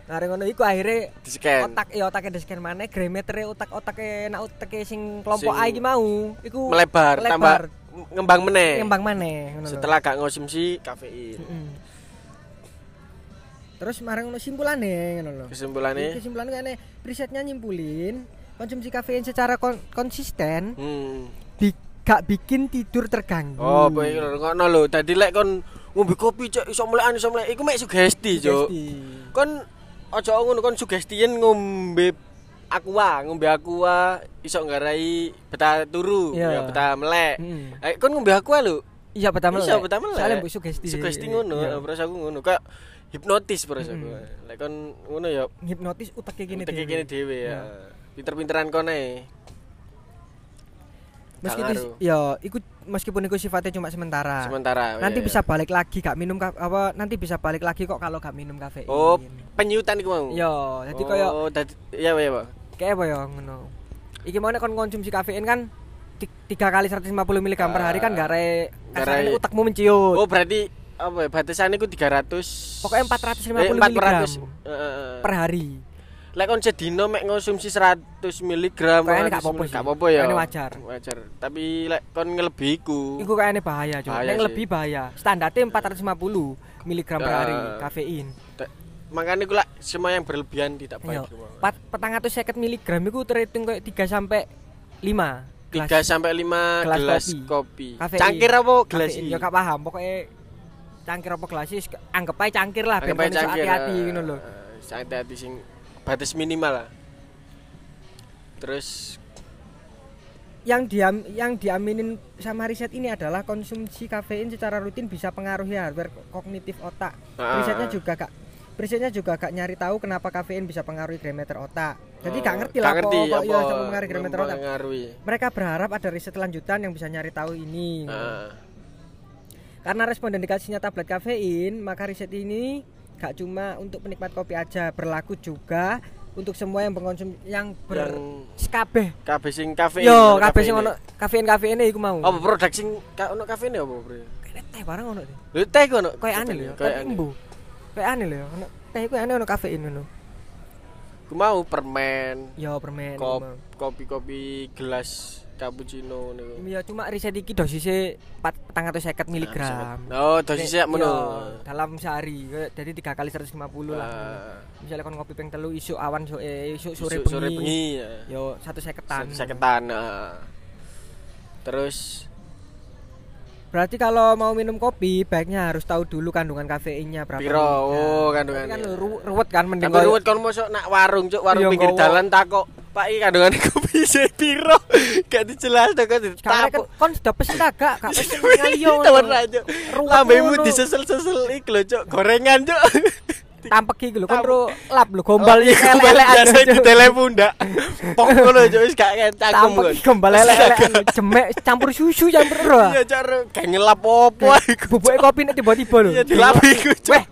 Speaker 1: Nah, ngono iku akhirnya
Speaker 2: Di scan.
Speaker 1: otak ya otaknya di scan mana, grametere otak-otaknya nak otaknya sing kelompok
Speaker 2: Sing
Speaker 1: A iki mau, iku
Speaker 2: Melebar, tambah ngembang meneh.
Speaker 1: ngembang mana
Speaker 2: Eh, Setelah gak ngonsumsi kafein.
Speaker 1: Terus marang ngono simpulane ngono lho.
Speaker 2: Kesimpulannya
Speaker 1: Kesimpulannya kayaknya risetnya nyimpulin konsumsi kafein secara kon- konsisten
Speaker 2: Hmm.
Speaker 1: bi- gak bikin tidur terganggu.
Speaker 2: Oh, apa iki ngono lho. Tadi lek kon ngombe kopi cok iso melekan iso melek. Iku mek sugesti, cok.
Speaker 1: Sugesti.
Speaker 2: Kon aja ngono kon sugestien ngombe aqua, ngombe aqua iso nggarai betah turu,
Speaker 1: Iya.
Speaker 2: ya betah melek.
Speaker 1: Mm.
Speaker 2: Eh, kon ngombe aqua lho.
Speaker 1: Iya pertama
Speaker 2: Iso betah melek.
Speaker 1: Soalnya mbok sugesti.
Speaker 2: Sugesti ngono,
Speaker 1: Iya.
Speaker 2: terus aku ngono. Kayak hipnotis terus aku. Lek kon ngono ya
Speaker 1: Hipnotis utaknya gini
Speaker 2: teki
Speaker 1: dhewe. Iya.
Speaker 2: kene dhewe ya. Pinter-pinteran kon ae.
Speaker 1: meskipun
Speaker 2: ngaruh.
Speaker 1: ya iku meskipun iku sifatnya cuma sementara
Speaker 2: Sementara.
Speaker 1: Nah, nanti
Speaker 2: ya,
Speaker 1: bisa
Speaker 2: ya.
Speaker 1: balik lagi gak minum ka- apa nanti bisa balik lagi kok kalau gak minum kafein
Speaker 2: Oh, penyutan iku mau.
Speaker 1: yo jadi kayak
Speaker 2: Oh, dadi- iya iya, Pak.
Speaker 1: kayak apa ya ngono iki mau nek kon konsumsi kafein kan ti- tiga kali 150 mg per hari
Speaker 2: Ah,
Speaker 1: kan gak re
Speaker 2: Gare-
Speaker 1: kasarane utekmu menciut
Speaker 2: Oh, berarti apa ya batasannya ku 300
Speaker 1: Pokoknya 450
Speaker 2: eh, 400
Speaker 1: miligram.
Speaker 2: eh, eh, eh.
Speaker 1: per hari
Speaker 2: Lek kon sedino mek ngonsumsi 100 mg
Speaker 1: Kayaknya gak apa-apa sih.
Speaker 2: Gak apa-apa ya.
Speaker 1: Kayaknya wajar.
Speaker 2: Wajar. Tapi lek kon ngelebihi iku.
Speaker 1: Iku kayaknya bahaya, Cok.
Speaker 2: Bahaya
Speaker 1: Nek
Speaker 2: sih.
Speaker 1: lebih bahaya. Standarnya 450 mg per hari
Speaker 2: Nah.
Speaker 1: kafein.
Speaker 2: Te- Makanya ku lek semua yang berlebihan tidak
Speaker 1: Iya.
Speaker 2: baik. semua.
Speaker 1: Pat- petang atau seket miligram itu terhitung kayak 3 sampai 5
Speaker 2: 3 sampai 5
Speaker 1: gelas
Speaker 2: gelas,
Speaker 1: kopi.
Speaker 2: kopi.
Speaker 1: Kafein.
Speaker 2: Cangkir apa gelas
Speaker 1: Kafein.
Speaker 2: iki?
Speaker 1: Ya gak paham, pokoknya cangkir apa gelas sih, anggap aja cangkir lah,
Speaker 2: Anggap
Speaker 1: biar kon
Speaker 2: aja
Speaker 1: iso
Speaker 2: cangkir,
Speaker 1: hati-hati
Speaker 2: eh,
Speaker 1: ngono lho.
Speaker 2: eh, Hati-hati sing batas minimal lah. Terus
Speaker 1: Yang diam yang diaminin sama riset ini adalah konsumsi kafein secara rutin bisa pengaruhi hardware kognitif otak.
Speaker 2: Ah.
Speaker 1: Risetnya juga Kak Risetnya juga gak nyari tahu kenapa kafein bisa pengaruhi diameter otak. Jadi
Speaker 2: eh,
Speaker 1: gak ngerti lah kok kok iya
Speaker 2: apa
Speaker 1: sampai pengaruhi diameter otak.
Speaker 2: mempengaruhi.
Speaker 1: Mereka berharap ada riset lanjutan yang bisa nyari tahu ini.
Speaker 2: Nah,
Speaker 1: Karena responden dikasihnya tablet kafein, maka riset ini gak cuma untuk penikmat kopi aja, berlaku juga untuk semua yang mengkonsumsi yang ber
Speaker 2: yang
Speaker 1: kabeh.
Speaker 2: kabeh sing kafein.
Speaker 1: Yo,
Speaker 2: Oh, ono
Speaker 1: kabeh sing
Speaker 2: kafeinnya.
Speaker 1: ono kafein kafeine iku mau.
Speaker 2: Apa produk sing ka, ono kafein ya apa, Bro?
Speaker 1: Kayak teh barang ono deh.
Speaker 2: Lho teh ku ono.
Speaker 1: Kayak aneh lho,
Speaker 2: ya, Kayak
Speaker 1: kayak
Speaker 2: aneh.
Speaker 1: embu. Kayak aneh lho, ono teh iku aneh ono kafein ono.
Speaker 2: Ku mau permen,
Speaker 1: Yo permen. iku
Speaker 2: kop,
Speaker 1: mau.
Speaker 2: kopi-kopi gelas cappuccino niku.
Speaker 1: Ya cuma riset iki dosisnya 450 miligram.
Speaker 2: Oh, Nah,
Speaker 1: Iya,
Speaker 2: dosisnya menu.
Speaker 1: Dalam sehari, kayak- jadi tiga kali 150 lah.
Speaker 2: Ah.
Speaker 1: Misalnya kon ngopi ping telu isuk awan so, eh, isuk sore
Speaker 2: Isu- Sore
Speaker 1: bengi.
Speaker 2: bengi. ya.
Speaker 1: Yo satu seketan.
Speaker 2: Saketan. ah. Terus
Speaker 1: Berarti kalau mau minum kopi baiknya harus tahu dulu kandungan kafeinnya berapa. Nah,
Speaker 2: piro? Oh,
Speaker 1: Tapi kan
Speaker 2: kandungannya.
Speaker 1: ru- ruwet kan mending
Speaker 2: Tapi ruwet kon mosok nak warung cuk, warung
Speaker 1: Iya,
Speaker 2: pinggir
Speaker 1: nggowo.
Speaker 2: dalan takok, "Pak, iki kandungane kopi se piro?" Gak dijelas to kan
Speaker 1: Sekarang kan
Speaker 2: ditapuk.
Speaker 1: kon sudah pesen kagak? Kak pesen kali yo.
Speaker 2: Tawar aja.
Speaker 1: iya, Ruwet
Speaker 2: Lambemu
Speaker 1: ngono.
Speaker 2: disesel-sesel iki lho, cuk. Gorengan, cuk.
Speaker 1: Tampek iki lho kon ru lap lho
Speaker 2: Oh,
Speaker 1: gombal iki
Speaker 2: Gombal
Speaker 1: elek-elekan.
Speaker 2: biasa ditelepon ndak. Pok ngono, cuk, wis gak cangkem
Speaker 1: Tampek iki gombal elek-elekan lho. jemek campur susu campur ro.
Speaker 2: Iya, cuk, ro. gak ngelap opo iku.
Speaker 1: Bubuke kopi nek tiba-tiba lho.
Speaker 2: Iya dilapi iku, cuk.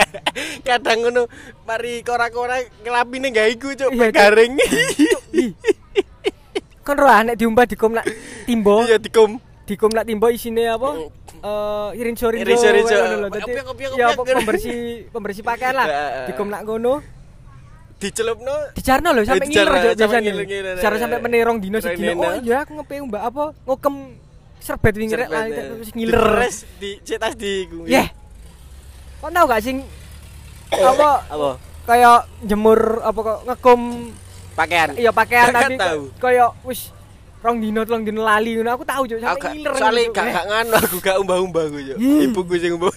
Speaker 2: Kadang ngono mari kora-kora ngelapine gak iku, cuk,
Speaker 1: Iya, Cuk.
Speaker 2: garing.
Speaker 1: Ih. Kon ro ah, nek diumbah dikum nak timbo,
Speaker 2: Iya dikum.
Speaker 1: dikum nak timbo isine apa? Eh irinso-irinso.
Speaker 2: Irinso-irinso.
Speaker 1: ngono lho. Dadi-
Speaker 2: Kopiak-kopiak-kopiak.
Speaker 1: Ya pe- pembersih pembersih pakaian lah.
Speaker 2: Heeh.
Speaker 1: Dikum nak ngono.
Speaker 2: dicelupno
Speaker 1: dijarno lho sampai
Speaker 2: iya. dijarno,
Speaker 1: ngiler Jok,
Speaker 2: sampai
Speaker 1: biasanya.
Speaker 2: ngiler, ngiler.
Speaker 1: Dijarno sampai menerong dino
Speaker 2: Menerong
Speaker 1: sedino.
Speaker 2: dino.
Speaker 1: Oh iya aku ngepe mbak apa ngokem serbet wingi rek lah
Speaker 2: Serbetnya.
Speaker 1: terus ngiler.
Speaker 2: Diperes, ya. di cetas di gungi.
Speaker 1: Yeh. Kau tau gak sing apa
Speaker 2: apa
Speaker 1: kayak jemur apa kok ngekum
Speaker 2: pakaian
Speaker 1: ya pakaian
Speaker 2: Gak
Speaker 1: tapi
Speaker 2: tahu.
Speaker 1: kayak wis rong dino telung dino lali ngono aku tahu juga
Speaker 2: Aku
Speaker 1: sampai
Speaker 2: gak-
Speaker 1: ngiler.
Speaker 2: soalnya
Speaker 1: ngono,
Speaker 2: gak
Speaker 1: Jok.
Speaker 2: gak nganu aku gak umbah-umbah aku yo
Speaker 1: Hmm.
Speaker 2: ibuku sing umbah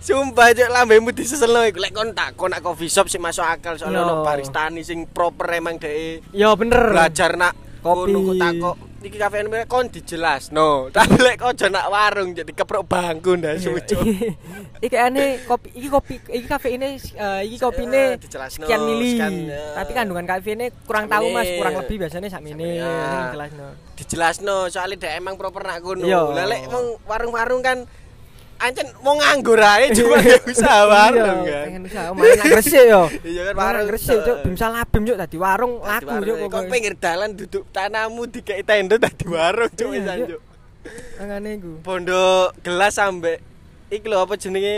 Speaker 2: sumpah cok lambemu diseselno iku lek kon tak kon nak coffee shop sing masuk akal
Speaker 1: Yo.
Speaker 2: soalnya ono baristani sing proper emang dhek
Speaker 1: Ya bener.
Speaker 2: belajar nak
Speaker 1: Kopi.
Speaker 2: ngono ku takok iki kafein mereka kon dijelasno tapi lek ojo nak warung jadi keprok bangku ndak
Speaker 1: Iya.
Speaker 2: sucu
Speaker 1: iki ane kopi iki kopi iki kafeine eh, iki kopine
Speaker 2: Eh, dijelasno,
Speaker 1: sekian mili
Speaker 2: sekian, eh.
Speaker 1: tapi kandungan kafeinnya kurang tahu mas
Speaker 2: Sakmene.
Speaker 1: kurang lebih biasanya sakmene
Speaker 2: Sakmene, ya.
Speaker 1: Sing jelasno
Speaker 2: dijelasno soalnya dhek emang proper nak ngono.
Speaker 1: Iya.
Speaker 2: Lah lek wong warung-warung kan ancen mau nganggur ae cuma gak usaha warung
Speaker 1: Iya,
Speaker 2: kan.
Speaker 1: pengen usaha main nang gresik yo
Speaker 2: Iya kan
Speaker 1: warung
Speaker 2: warung.
Speaker 1: gresik cuk
Speaker 2: eh,
Speaker 1: bimsa labim cuk dadi warung
Speaker 2: tadi
Speaker 1: laku
Speaker 2: warung,
Speaker 1: cuk
Speaker 2: eh, Kok
Speaker 1: pokoknya.
Speaker 2: pinggir dalan duduk tanamu dikei tenda tadi warung cuk
Speaker 1: Iya,
Speaker 2: wisan
Speaker 1: Cuk.
Speaker 2: cuk.
Speaker 1: Mangane iku
Speaker 2: Pondok gelas sampe iki lho apa jenenge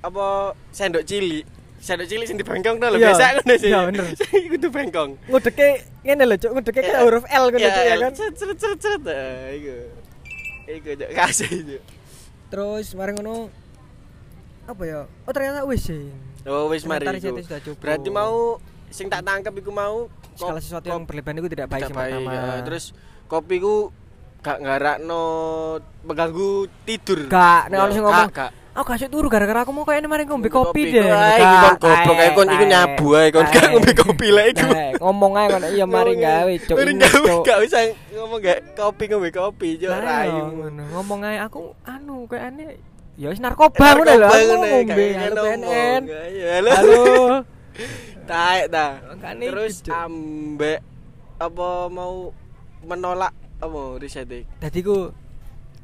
Speaker 2: apa sendok cilik. Sendok cilik sing dibengkong to lho
Speaker 1: Iya.
Speaker 2: biasa ngono sih.
Speaker 1: Iya, bener.
Speaker 2: Kudu bengkong.
Speaker 1: ngudeke ngene lho cuk ngudeke kayak
Speaker 2: Iya.
Speaker 1: huruf L ngono
Speaker 2: Eh, Iya,
Speaker 1: cuk ya
Speaker 2: L.
Speaker 1: kan
Speaker 2: Cet cet cet cet. Eh, Iku. Iku cuk kasih cuk.
Speaker 1: terus mari ngono apa ya oh ternyata wis sing
Speaker 2: Oh wis mari
Speaker 1: Ternyata
Speaker 2: iku.
Speaker 1: risetnya sudah cukup.
Speaker 2: Berarti mau sing tak tangkep iku mau ko-
Speaker 1: segala sesuatu yang
Speaker 2: ko-
Speaker 1: berlebihan itu tidak baik
Speaker 2: tidak baik,
Speaker 1: sama
Speaker 2: ya. Terus kopi ku gak ngarakno mengganggu tidur.
Speaker 1: Gak, nek ono sing
Speaker 2: Gak,
Speaker 1: ngomong. ya
Speaker 2: gak.
Speaker 1: Aku gak asik turu gara-gara aku mau kayaknya mari ngombe kopi deh.
Speaker 2: Wah, iki kon goblok ae kon iku nyabu ae kon gak ngombe kopi lah iku.
Speaker 1: Ngomong ae kon iya mari
Speaker 2: Ngomong
Speaker 1: gawe cuk.
Speaker 2: Mari
Speaker 1: ini,
Speaker 2: gawe
Speaker 1: Cuk.
Speaker 2: gak usah ngomong gak kopi ngombe kopi yo
Speaker 1: Lah,
Speaker 2: rayu.
Speaker 1: ngono. Ngomong ae aku anu kayaknya ya wis narkoba ngono lho aku mau
Speaker 2: Narkoba ngono,
Speaker 1: ngombe
Speaker 2: gak
Speaker 1: halo
Speaker 2: ngomong.
Speaker 1: PNN.
Speaker 2: Ayo, Halo.
Speaker 1: Halo.
Speaker 2: Taek ta.
Speaker 1: Makanya itu,
Speaker 2: Terus
Speaker 1: Cuk.
Speaker 2: ambek e? apa mau menolak apa riset iki?
Speaker 1: Dadi ku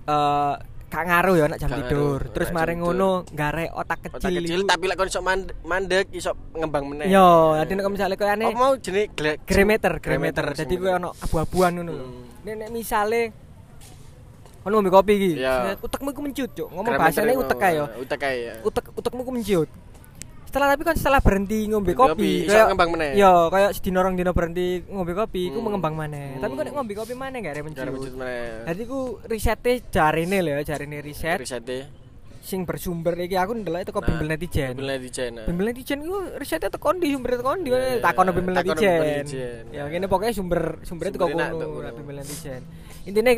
Speaker 1: eh gak ngaruh ya anak jam
Speaker 2: Gak
Speaker 1: tidur.
Speaker 2: ngaruh,
Speaker 1: Terus
Speaker 2: anak jam
Speaker 1: maring
Speaker 2: tidur.
Speaker 1: ngono gare otak
Speaker 2: otak
Speaker 1: kecil.
Speaker 2: kecil tapi lek kon iso mand- mandek iso ngembang meneh
Speaker 1: Yo, dadi nek misale koyo ane
Speaker 2: Apa mau jenis glek
Speaker 1: Gremeter, gremeter.
Speaker 2: Gremeter,
Speaker 1: Jadi
Speaker 2: sing
Speaker 1: kowe ono abu-abuan ngono lho.
Speaker 2: Hmm.
Speaker 1: Nek nek misale ono ngombe kopi iki,
Speaker 2: Iya.
Speaker 1: utekmu iku mencut, Cuk. Ngomong
Speaker 2: Gremeter
Speaker 1: bahasane
Speaker 2: iku,
Speaker 1: utek kae yo.
Speaker 2: utek kae ya
Speaker 1: Utek utekmu iku mencut. Setelah tapi kan setelah berhenti ngombe
Speaker 2: Berhenti
Speaker 1: kopi,
Speaker 2: kopi, iso ngembang meneh.
Speaker 1: Yo, kayak sedina rong dina berhenti ngombe kopi, iku
Speaker 2: Hmm.
Speaker 1: mengembang maneh. Tapi kok nek
Speaker 2: Hmm.
Speaker 1: ngombe kopi maneh gak ada
Speaker 2: Gara
Speaker 1: mencut.
Speaker 2: wujud meneh
Speaker 1: Jadi ku risetnya jarine lho ya, jarine riset
Speaker 2: riset Nah,
Speaker 1: sing bersumber iki aku ndelok teko bimbel netizen.
Speaker 2: Bimbel netizen. nah.
Speaker 1: Bimbel netizen iku risetnya teko ndi sumber teko ndi
Speaker 2: Iya,
Speaker 1: takono bimbel
Speaker 2: takono
Speaker 1: netizen.
Speaker 2: bimbel netizen.
Speaker 1: Ya ngene pokoknya sumber sumbernya teko
Speaker 2: Sumbernya nak
Speaker 1: kono
Speaker 2: teko
Speaker 1: lah
Speaker 2: kono.
Speaker 1: bimbel netizen. Intine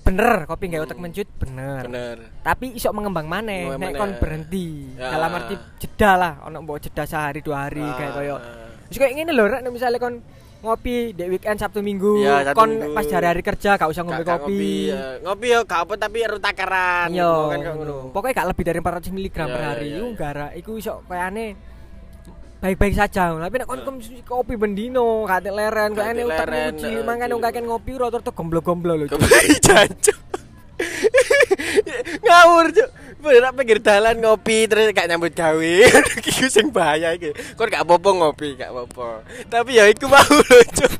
Speaker 1: bener kopi nggak otak mencut bener.
Speaker 2: Bener.
Speaker 1: Tapi iso mengembang maneh
Speaker 2: Mengembang
Speaker 1: nek
Speaker 2: maneh.
Speaker 1: kon berhenti.
Speaker 2: Ya.
Speaker 1: Dalam arti jeda lah ono mbok jeda sehari dua hari
Speaker 2: Ah,
Speaker 1: kayak koyo.
Speaker 2: ah.
Speaker 1: Terus kayak ngene lho rek nek misale kon ngopi di weekend Sabtu Minggu
Speaker 2: Iya, Sabtu
Speaker 1: kon
Speaker 2: Minggu.
Speaker 1: pas hari-hari kerja gak usah ngombe
Speaker 2: Gak- gak
Speaker 1: kopi.
Speaker 2: ya. ngopi ya gak apa tapi erut takaran
Speaker 1: Iya.
Speaker 2: kan kok ngono
Speaker 1: Pokoknya gak lebih dari 400 mg
Speaker 2: Iya,
Speaker 1: per
Speaker 2: iya,
Speaker 1: hari.
Speaker 2: iya,
Speaker 1: Iku
Speaker 2: iya.
Speaker 1: gara iku iso kayane baik-baik saja. Tapi nek kon konsumsi kopi bendino, gak tek leren,
Speaker 2: Ya. Gak
Speaker 1: kayane
Speaker 2: tek
Speaker 1: utekmu
Speaker 2: leren, ya,
Speaker 1: uci,
Speaker 2: heeh,
Speaker 1: mangkane wong
Speaker 2: uci.
Speaker 1: kakek ngopi ora tuh gomblo-gomblo lho. Cuk.
Speaker 2: Kembali jancuk. Ngawur cuk. Berak pinggir dalan ngopi terus gak nyambut gawe. Iku sing bahaya iki. Kon gak apa-apa ngopi, gak apa-apa. Tapi ya iku mau lho cuk.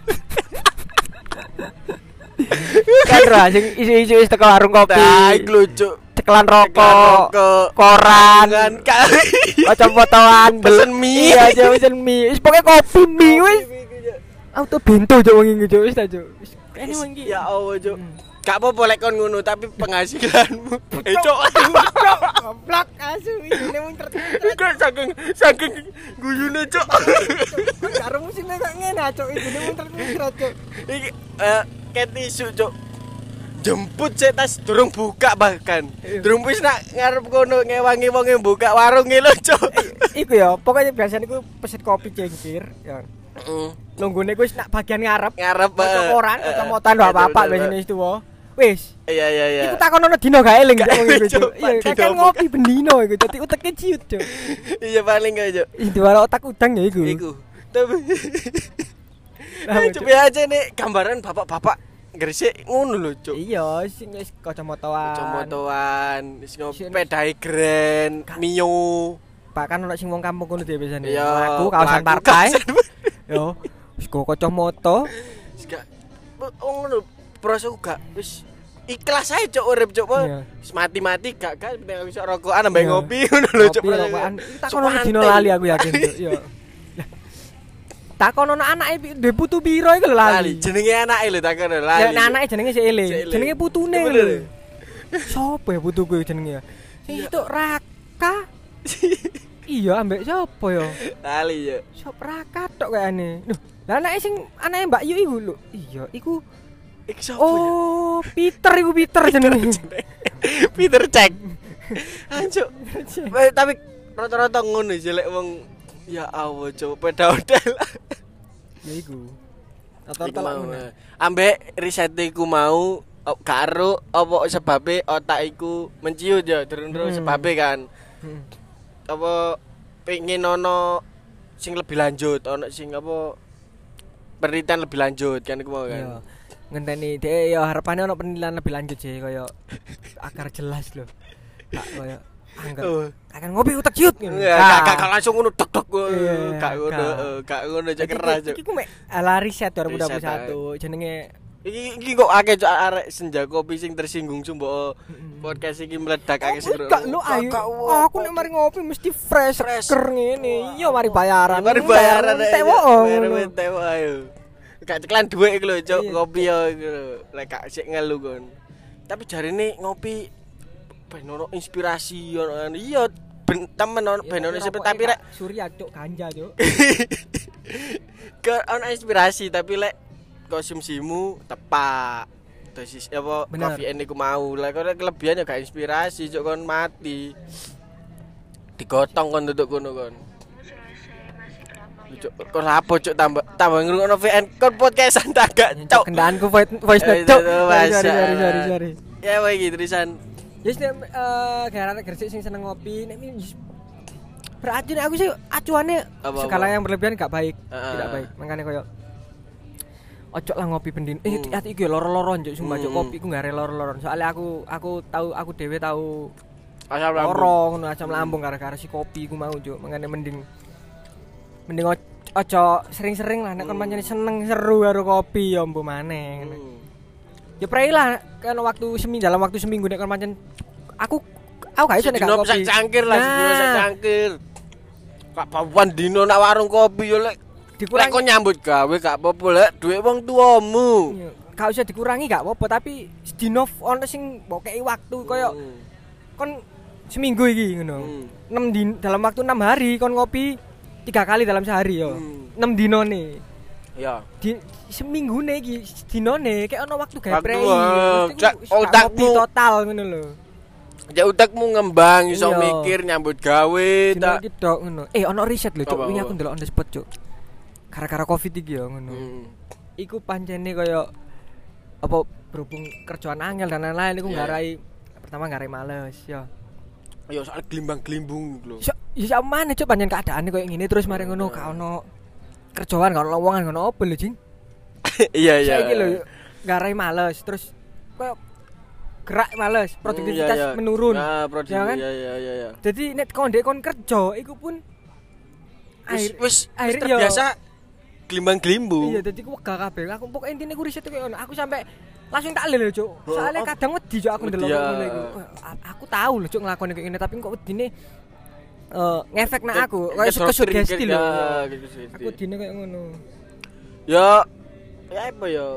Speaker 1: Kan ra sing isu-isu wis teko warung kopi.
Speaker 2: Nah, iku lho cuk.
Speaker 1: Cekelan rokok,
Speaker 2: Rokok. Kan
Speaker 1: koran,
Speaker 2: kali.
Speaker 1: ojo fotoan,
Speaker 2: Pesen mie.
Speaker 1: Iya, aja pesen mie. Wis pokoke kopi mie wis. Auto bento cuk wong iki cuk wis ta Iya, cuk. Hmm. Wis kene wong iki.
Speaker 2: Ya Allah cuk. Gak apa-apa lek kon ngono tapi penghasilanmu. Eh cuk.
Speaker 1: Goblok asu ini mung tertib.
Speaker 2: Gak saking saking guyune cuk.
Speaker 1: Karo musimnya kok ngene cok ibune muntret-muntret cok.
Speaker 2: Iki eh ket isu cuk. Jemput sik tas durung buka bahkan.
Speaker 1: Iya.
Speaker 2: Durung wis nak ngarep kono ngewangi wong yang buka warung iki lho cuk.
Speaker 1: Iku ya, pokoknya biasanya iku pesen kopi cengkir ya.
Speaker 2: Heeh.
Speaker 1: Nunggune iku wis nak bagian ngarep.
Speaker 2: Ngarep
Speaker 1: Maca
Speaker 2: eh,
Speaker 1: Mm. koran,
Speaker 2: eh,
Speaker 1: kacamata lho
Speaker 2: betul,
Speaker 1: apa-apa
Speaker 2: betul,
Speaker 1: biasanya
Speaker 2: betul.
Speaker 1: wis tuwa. Wis,
Speaker 2: Iya iya iya.
Speaker 1: iku takon ono dino gak eling
Speaker 2: Gak
Speaker 1: cok
Speaker 2: eling,
Speaker 1: iku cok.
Speaker 2: Cuk.
Speaker 1: Iya,
Speaker 2: Dino
Speaker 1: kakek
Speaker 2: buka.
Speaker 1: ngopi bendino iku dadi uteke ciut cok.
Speaker 2: Iya paling gak cuk.
Speaker 1: Ih, diwala otak udang ya iku.
Speaker 2: Iku. Tapi Eh,
Speaker 1: Paham, Cuk?
Speaker 2: coba aja nih gambaran bapak-bapak Gresik ngono lho cuk.
Speaker 1: Iya, sing wis kacamataan.
Speaker 2: Comotoan, wis
Speaker 1: Sini.
Speaker 2: ngopedai grand, mio.
Speaker 1: Bahkan ono sing wong kampung kono dhewe biasanya.
Speaker 2: Iya,
Speaker 1: Aku kawasan
Speaker 2: mlaku
Speaker 1: partai.
Speaker 2: kawasan-
Speaker 1: Yo, wis go kacamata.
Speaker 2: Wis gak oh ngono proses gak wis ikhlas ae cok urip cok
Speaker 1: Iya.
Speaker 2: wis mati-mati gak gak penting iso rokokan
Speaker 1: Iya.
Speaker 2: ambek ngopi ngono lho cok
Speaker 1: Kopi, rokokan. Ini takon ono dino lali aku yakin Cuk. Yo. Lah, Takon ono anake pi- duwe putu piro iku lho lali.
Speaker 2: lali jenenge anake lho takon lali
Speaker 1: Ya nek anake jenenge sik eling.
Speaker 2: Sik eling.
Speaker 1: Jenenge putune
Speaker 2: Bener.
Speaker 1: lho. Sopo ya putu kuwi jenenge ya? Sing itu Raka. Iya ambek sapa ya?
Speaker 2: lali ya
Speaker 1: Sop Raka tok kayane. Lho, lah anake sing anake Mbak Yu iku lho. Iya, iku
Speaker 2: iki sapa ya?
Speaker 1: oh Peter iku Peter jenenge.
Speaker 2: Peter cek anjuk Eh, tapi rata-rata ngono jelek wong ya Allah cok peda hotel
Speaker 1: Ya iku.
Speaker 2: Iku
Speaker 1: Rata-rata lak
Speaker 2: mau,
Speaker 1: ngono.
Speaker 2: eh. ambek riset iku mau oh, karo apa sebabe otak iku menciut ya durung-durung
Speaker 1: Hmm.
Speaker 2: sebabe kan
Speaker 1: Heeh.
Speaker 2: apa pengen ono sing lebih lanjut ono sing apa penelitian lebih lanjut kan iku mau
Speaker 1: Iya.
Speaker 2: kan Eh,
Speaker 1: Ngenteni dhek ya harapannya ono penilaian lebih lanjut sih kaya akar jelas lho. Kak kaya angger.
Speaker 2: Oh. Iya,
Speaker 1: Akan kan ngopi utak ciut ngono.
Speaker 2: Nggak, eh, gak gak- gak langsung ngono tok tok
Speaker 1: Iya,
Speaker 2: gak ngono
Speaker 1: gak.
Speaker 2: eh, gak ngono cek
Speaker 1: Jadi
Speaker 2: keras
Speaker 1: iki-
Speaker 2: cek
Speaker 1: Iki ku mek ala riset
Speaker 2: Riset,
Speaker 1: 2021 jenenge
Speaker 2: iki iki kok akeh cok arek senja kopi sing tersinggung sumbo podcast iki meledak akeh sing
Speaker 1: Gak lo ayo. Oh, Aku nek mari ngopi mesti fresh,
Speaker 2: Fresh.
Speaker 1: seger ngene. Iya mari bayaran.
Speaker 2: mari bayaran eh.
Speaker 1: Entek wo'o ngono.
Speaker 2: tewo ayo gak ceklan dhuwit iku lho cok
Speaker 1: Iya,
Speaker 2: ngopi yo iku lho. lek gak sik ngelu kon tapi jarine ngopi ben ono inspirasi ono kan. iya ben temen
Speaker 1: Ya,
Speaker 2: ono ben ono inspirasi tapi rek
Speaker 1: surya cuk ganja cuk.
Speaker 2: ke ono inspirasi tapi lek konsumsimu tepak dosis apa
Speaker 1: Bener.
Speaker 2: kafein niku mau lek kok kelebihan ya gak inspirasi cok kon mati digotong kon duduk kono kon Cuk, kon lapo cuk tambah tambah ngrungokno VN kon podcastan tak gak
Speaker 1: Cuk
Speaker 2: cok.
Speaker 1: kendaanku voice voice
Speaker 2: Eh,
Speaker 1: note cuk.
Speaker 2: itu,
Speaker 1: Sorry sorry,
Speaker 2: Masya
Speaker 1: sorry sorry
Speaker 2: Allah.
Speaker 1: sorry.
Speaker 2: Ya wae iki Trisan.
Speaker 1: Yes, nek eh gara-gara Gresik sing seneng ngopi, nek mi- yes. berarti nek aku sih acuannya
Speaker 2: Apa-apa?
Speaker 1: segala yang berlebihan gak baik,
Speaker 2: Ah.
Speaker 1: tidak baik. Makanya koyo ojo lah ngopi pendin eh
Speaker 2: Hmm.
Speaker 1: ati iki loro-loro njuk sumpah
Speaker 2: Hmm,
Speaker 1: ojo
Speaker 2: hmm.
Speaker 1: kopi ku gare loro-loro soalnya aku aku tahu aku dhewe tahu
Speaker 2: Asam lambung. Hmm.
Speaker 1: loro ngono asam lambung gara-gara si kopi ku mau njuk mengene mending mending oj- ojo sering-sering lah nek kon pancen seneng seru karo kopi ya mbo maneh ngono.
Speaker 2: Hmm.
Speaker 1: ya pray lah kan waktu seminggu dalam waktu seminggu nek kon pancen aku aku gak iso nek gak
Speaker 2: Sedino sak
Speaker 1: kopi
Speaker 2: cangkir lah, sedino sak
Speaker 1: Nah.
Speaker 2: cangkir. Kak pawan dino nak warung kopi yo lek lek
Speaker 1: dikurangi
Speaker 2: kon nyambut gawe gak apa-apa lek duit wong tuamu.
Speaker 1: Ya, gak usah dikurangi gak apa-apa tapi sedino ono sing bokeki waktu koyo
Speaker 2: Hmm.
Speaker 1: kon seminggu iki ngono.
Speaker 2: Hmm.
Speaker 1: 6 din dalam waktu 6 hari kon ngopi 3 kali dalam sehari yo.
Speaker 2: Hmm.
Speaker 1: 6 dino nih.
Speaker 2: Ya.
Speaker 1: Di seminggu nih iki dinone kayak ono waktu
Speaker 2: Waktu,
Speaker 1: geprei.
Speaker 2: eh, cak,
Speaker 1: kopi
Speaker 2: otakmu.
Speaker 1: total ngono lho.
Speaker 2: Ya utekmu ngembang iso
Speaker 1: Iya.
Speaker 2: mikir nyambut gawe
Speaker 1: Dino
Speaker 2: tak.
Speaker 1: iki tok ngono. Eh ono riset lho
Speaker 2: Apa,
Speaker 1: cuk, wingi
Speaker 2: apa?
Speaker 1: aku ndelok on the spot cuk. Gara-gara covid iki yo ngono.
Speaker 2: Hmm.
Speaker 1: iku pancene kaya apa berhubung kerjaan angel dan lain-lain iku
Speaker 2: Iya,
Speaker 1: nggarai pertama nggarai males ya.
Speaker 2: Ya soal gelimbang-gelimbung lho.
Speaker 1: Iso iso mana cuk pancen keadaane koyo ngene terus mari ngono gak ono kerjaan gak ono lowongan gak ono apa lho jing.
Speaker 2: Iya iya.
Speaker 1: Saiki lho nggarai males terus koyo gerak males, produktivitas
Speaker 2: Hmm, iya, iya.
Speaker 1: menurun.
Speaker 2: Nah,
Speaker 1: Ya
Speaker 2: produktivitas.
Speaker 1: kan?
Speaker 2: Iya iya iya iya.
Speaker 1: Jadi nek kon ndek kon kerja iku pun
Speaker 2: Wis
Speaker 1: air
Speaker 2: wis wis
Speaker 1: akhir-
Speaker 2: terbiasa gelimbang-gelimbung.
Speaker 1: Iya, dadi ku wegah kabeh. Aku pokok intine ku riset koyo ngono. Aku sampe langsung tak lele, Cuk.
Speaker 2: Oh,
Speaker 1: Soale
Speaker 2: oh.
Speaker 1: kadang wedi Cuk aku
Speaker 2: Wedi,
Speaker 1: ndelok
Speaker 2: ya.
Speaker 1: ngono iku. Wah, a- Aku tahu lho Cuk nglakoni kayak ngene, tapi kok wedine eh ngefek nak aku. Kayak
Speaker 2: Kesor-
Speaker 1: sugesti lho.
Speaker 2: Ya, kesugesti.
Speaker 1: Aku dine kayak ngono.
Speaker 2: Ya ya apa ya?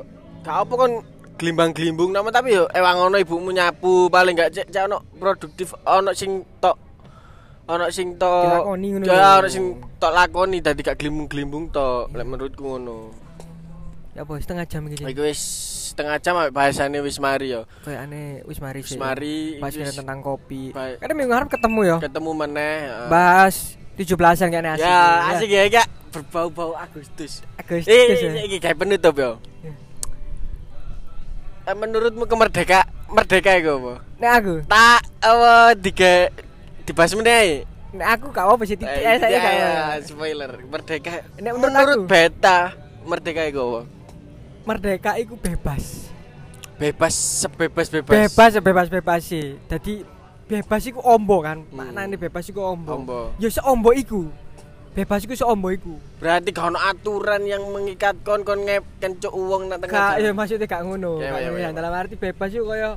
Speaker 2: Gak apa kon gelimbang-gelimbung nama tapi ya ewang ono ibumu nyapu paling gak cek cek ono produktif ono sing tok ono sing tok
Speaker 1: Dilakoni ngono lho.
Speaker 2: Ya ono sing tok lakoni dadi gak gelimbung-gelimbung tok lek menurutku ngono.
Speaker 1: Ya apa setengah jam iki. Cuk.
Speaker 2: Iku wis setengah jam ambek bahasane wis mari ya.
Speaker 1: Kayak aneh wis mari
Speaker 2: Wis
Speaker 1: sih.
Speaker 2: mari
Speaker 1: Bahas
Speaker 2: wis
Speaker 1: tentang kopi.
Speaker 2: Baik.
Speaker 1: Kadang minggu harap ketemu ya.
Speaker 2: ketemu meneh. eh.
Speaker 1: Bahas 17-an kayaknya asik.
Speaker 2: Ya asik ya gak berbau-bau Agustus.
Speaker 1: Agustus
Speaker 2: Eh,
Speaker 1: ya.
Speaker 2: iki kayak penutup ya. Eh, Menurutmu kemerdeka merdeka iku apa?
Speaker 1: Nek aku,
Speaker 2: tak apa tiga dibahas meneh. Eh, iya,
Speaker 1: nek aku gak apa sih titik ae saya gak. apa.
Speaker 2: spoiler merdeka.
Speaker 1: eh, Nek menurut
Speaker 2: menurut
Speaker 1: aku.
Speaker 2: beta merdeka iku apa?
Speaker 1: Merdeka iku bebas.
Speaker 2: Bebas sebebas bebas.
Speaker 1: bebas bebas bebas sih jadi bebas iku ombo kan
Speaker 2: Hmm.
Speaker 1: maknane bebas iku ombo
Speaker 2: Ombo.
Speaker 1: ya seombo iku bebas iku seombo iku
Speaker 2: Berarti gak ono aturan yang mengikat kon kon ngep kencuk uang nang
Speaker 1: gak
Speaker 2: tengah.
Speaker 1: ya
Speaker 2: jalan.
Speaker 1: maksudnya gak ngono
Speaker 2: Ya,
Speaker 1: Gak
Speaker 2: ya,
Speaker 1: ngono
Speaker 2: ya,
Speaker 1: ya.
Speaker 2: ya.
Speaker 1: dalam arti bebas iku kaya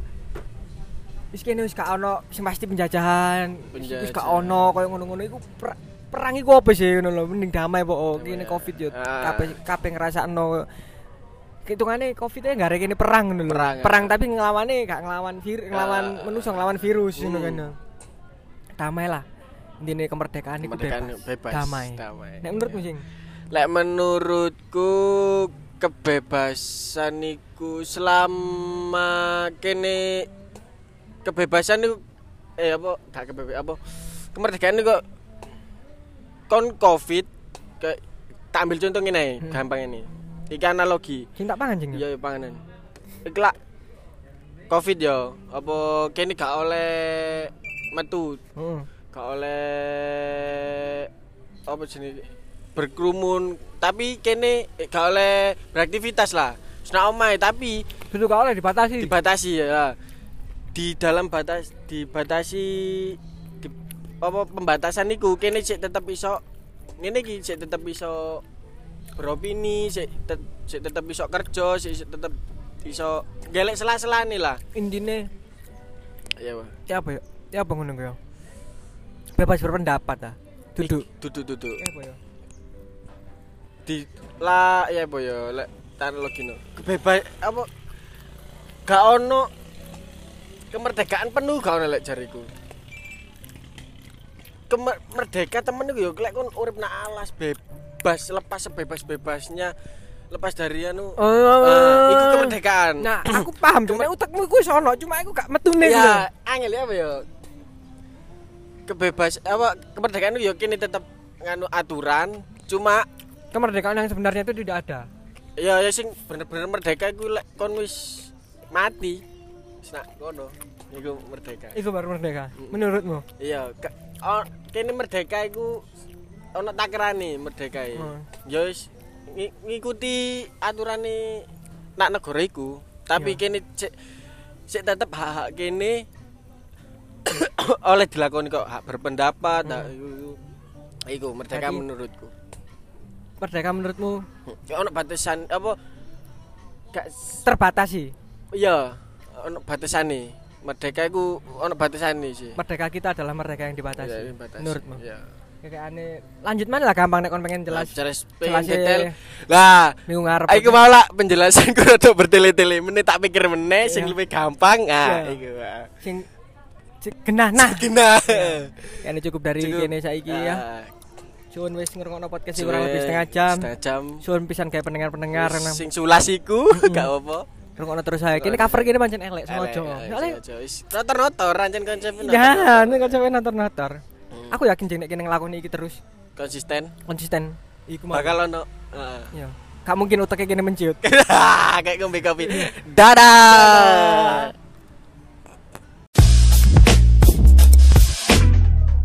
Speaker 1: wis kene wis gak ono sing pasti penjajahan wis gak
Speaker 2: Penjajahan.
Speaker 1: ono kaya ngono-ngono iku per- perang iku apa sih ngono lho mending damai pokok
Speaker 2: Damai,
Speaker 1: kene
Speaker 2: ya.
Speaker 1: covid yo
Speaker 2: Ah.
Speaker 1: kabeh kabeh ngrasakno hitungannya covid nya gak ada kene perang ngono lho
Speaker 2: Perang,
Speaker 1: perang,
Speaker 2: ya.
Speaker 1: tapi ngelawannya gak ngelawan virus ngelawan
Speaker 2: Ah.
Speaker 1: manusia ngelawan virus ngono
Speaker 2: Hmm.
Speaker 1: kan ya. damai lah intinya kemerdekaan itu
Speaker 2: Kemerdekaan
Speaker 1: bebas.
Speaker 2: bebas,
Speaker 1: damai,
Speaker 2: damai. Ya.
Speaker 1: Nek menurutmu sing
Speaker 2: Lek menurutku kebebasan iku selama kene kebebasan iku eh apa gak kebebasan apa kemerdekaan iku kon covid kayak tak ambil contoh ngene ae,
Speaker 1: Hmm.
Speaker 2: gampang ini. Iki analogi.
Speaker 1: cinta kan, pangan sing
Speaker 2: Iya, iya, panganan. Iki lak covid ya, apa kene gak oleh metu
Speaker 1: Heeh.
Speaker 2: gak oleh apa jenis berkerumun tapi kene eh, gak oleh beraktivitas lah Senang omai tapi
Speaker 1: Dulu gak oleh dibatasi
Speaker 2: dibatasi ya di dalam batas dibatasi di, apa pembatasan niku kene sik tetep iso ngene iki sik tetep iso beropini sik te- sik tetep iso kerja sik sik tetep iso gelek sela-selane lah
Speaker 1: intinya
Speaker 2: ya Pak.
Speaker 1: ya apa ya ya apa ngono ya bebas berpendapat ah duduk
Speaker 2: duduk duduk
Speaker 1: ya apa ya
Speaker 2: di la ya apa ya lek teknologi no kebebas apa gak ono kemerdekaan penuh gak ono lek jariku kemerdeka temen iku ya lek kon urip nak alas bebas lepas sebebas bebasnya lepas dari anu
Speaker 1: Oh.
Speaker 2: Ah, iku kemerdekaan
Speaker 1: nah aku paham cuma utakmu iku sono cuma aku gak metune
Speaker 2: ya angel ya apa ya kebebas apa kemerdekaan itu ya kini tetap nganu aturan cuma
Speaker 1: kemerdekaan yang sebenarnya itu tidak ada
Speaker 2: ya ya sing bener-bener merdeka iku lek kon wis mati wis nak ngono iku merdeka
Speaker 1: itu baru merdeka menurutmu
Speaker 2: iya ke- o- kene merdeka iku ana takrane merdeka ya
Speaker 1: Hmm.
Speaker 2: ya wis ngi- ngikuti aturane nak negara iku tapi kene cek cek tetep hak-hak kene oleh dilakoni kok hak berpendapat hak iku iku. iku merdeka
Speaker 1: Hmm. Jadi-
Speaker 2: menurutku
Speaker 1: Merdeka menurutmu
Speaker 2: Ya, ono batasan apa gak s-
Speaker 1: terbatasi?
Speaker 2: iya ono batasane merdeka iku ono batasane sih
Speaker 1: Merdeka kita adalah merdeka yang
Speaker 2: Iya,
Speaker 1: dibatasi.
Speaker 2: ini batas.
Speaker 1: Menurutmu?
Speaker 2: Iya.
Speaker 1: Kayak aneh. Lanjut mana lah gampang nek kon pengen jelas.
Speaker 2: jelas
Speaker 1: jelas ya.
Speaker 2: detail lah
Speaker 1: Minggu ngarep.
Speaker 2: Aku mau lah penjelasan ku rada bertele-tele meneh tak pikir meneh sing
Speaker 1: Iya.
Speaker 2: lebih gampang ah
Speaker 1: Iya.
Speaker 2: iku. ah.
Speaker 1: Sing sing- genah nah.
Speaker 2: Gina.
Speaker 1: Kayaknya cukup dari
Speaker 2: Cukup.
Speaker 1: kene saiki ya.
Speaker 2: Ah,
Speaker 1: Suwun wis ngrungokno podcast iki
Speaker 2: suwe-
Speaker 1: kurang lebih setengah jam.
Speaker 2: Setengah jam.
Speaker 1: Suwun pisan kayak pendengar-pendengar nang
Speaker 2: Sing sulas iku gak apa.
Speaker 1: rungokno terus ae. Kene cover kene pancen elek sengaja. Soale
Speaker 2: Soalnya notor-notor rancen konsep
Speaker 1: ya nek konsep nonton-nonton. Aku yakin jeng nek kene nglakoni iki terus
Speaker 2: konsisten.
Speaker 1: konsisten. Iku mau.
Speaker 2: Bakal ono. ah.
Speaker 1: Ya. Gak mungkin otaknya kene menciut.
Speaker 2: Kayak ngombe kopi. Dadah.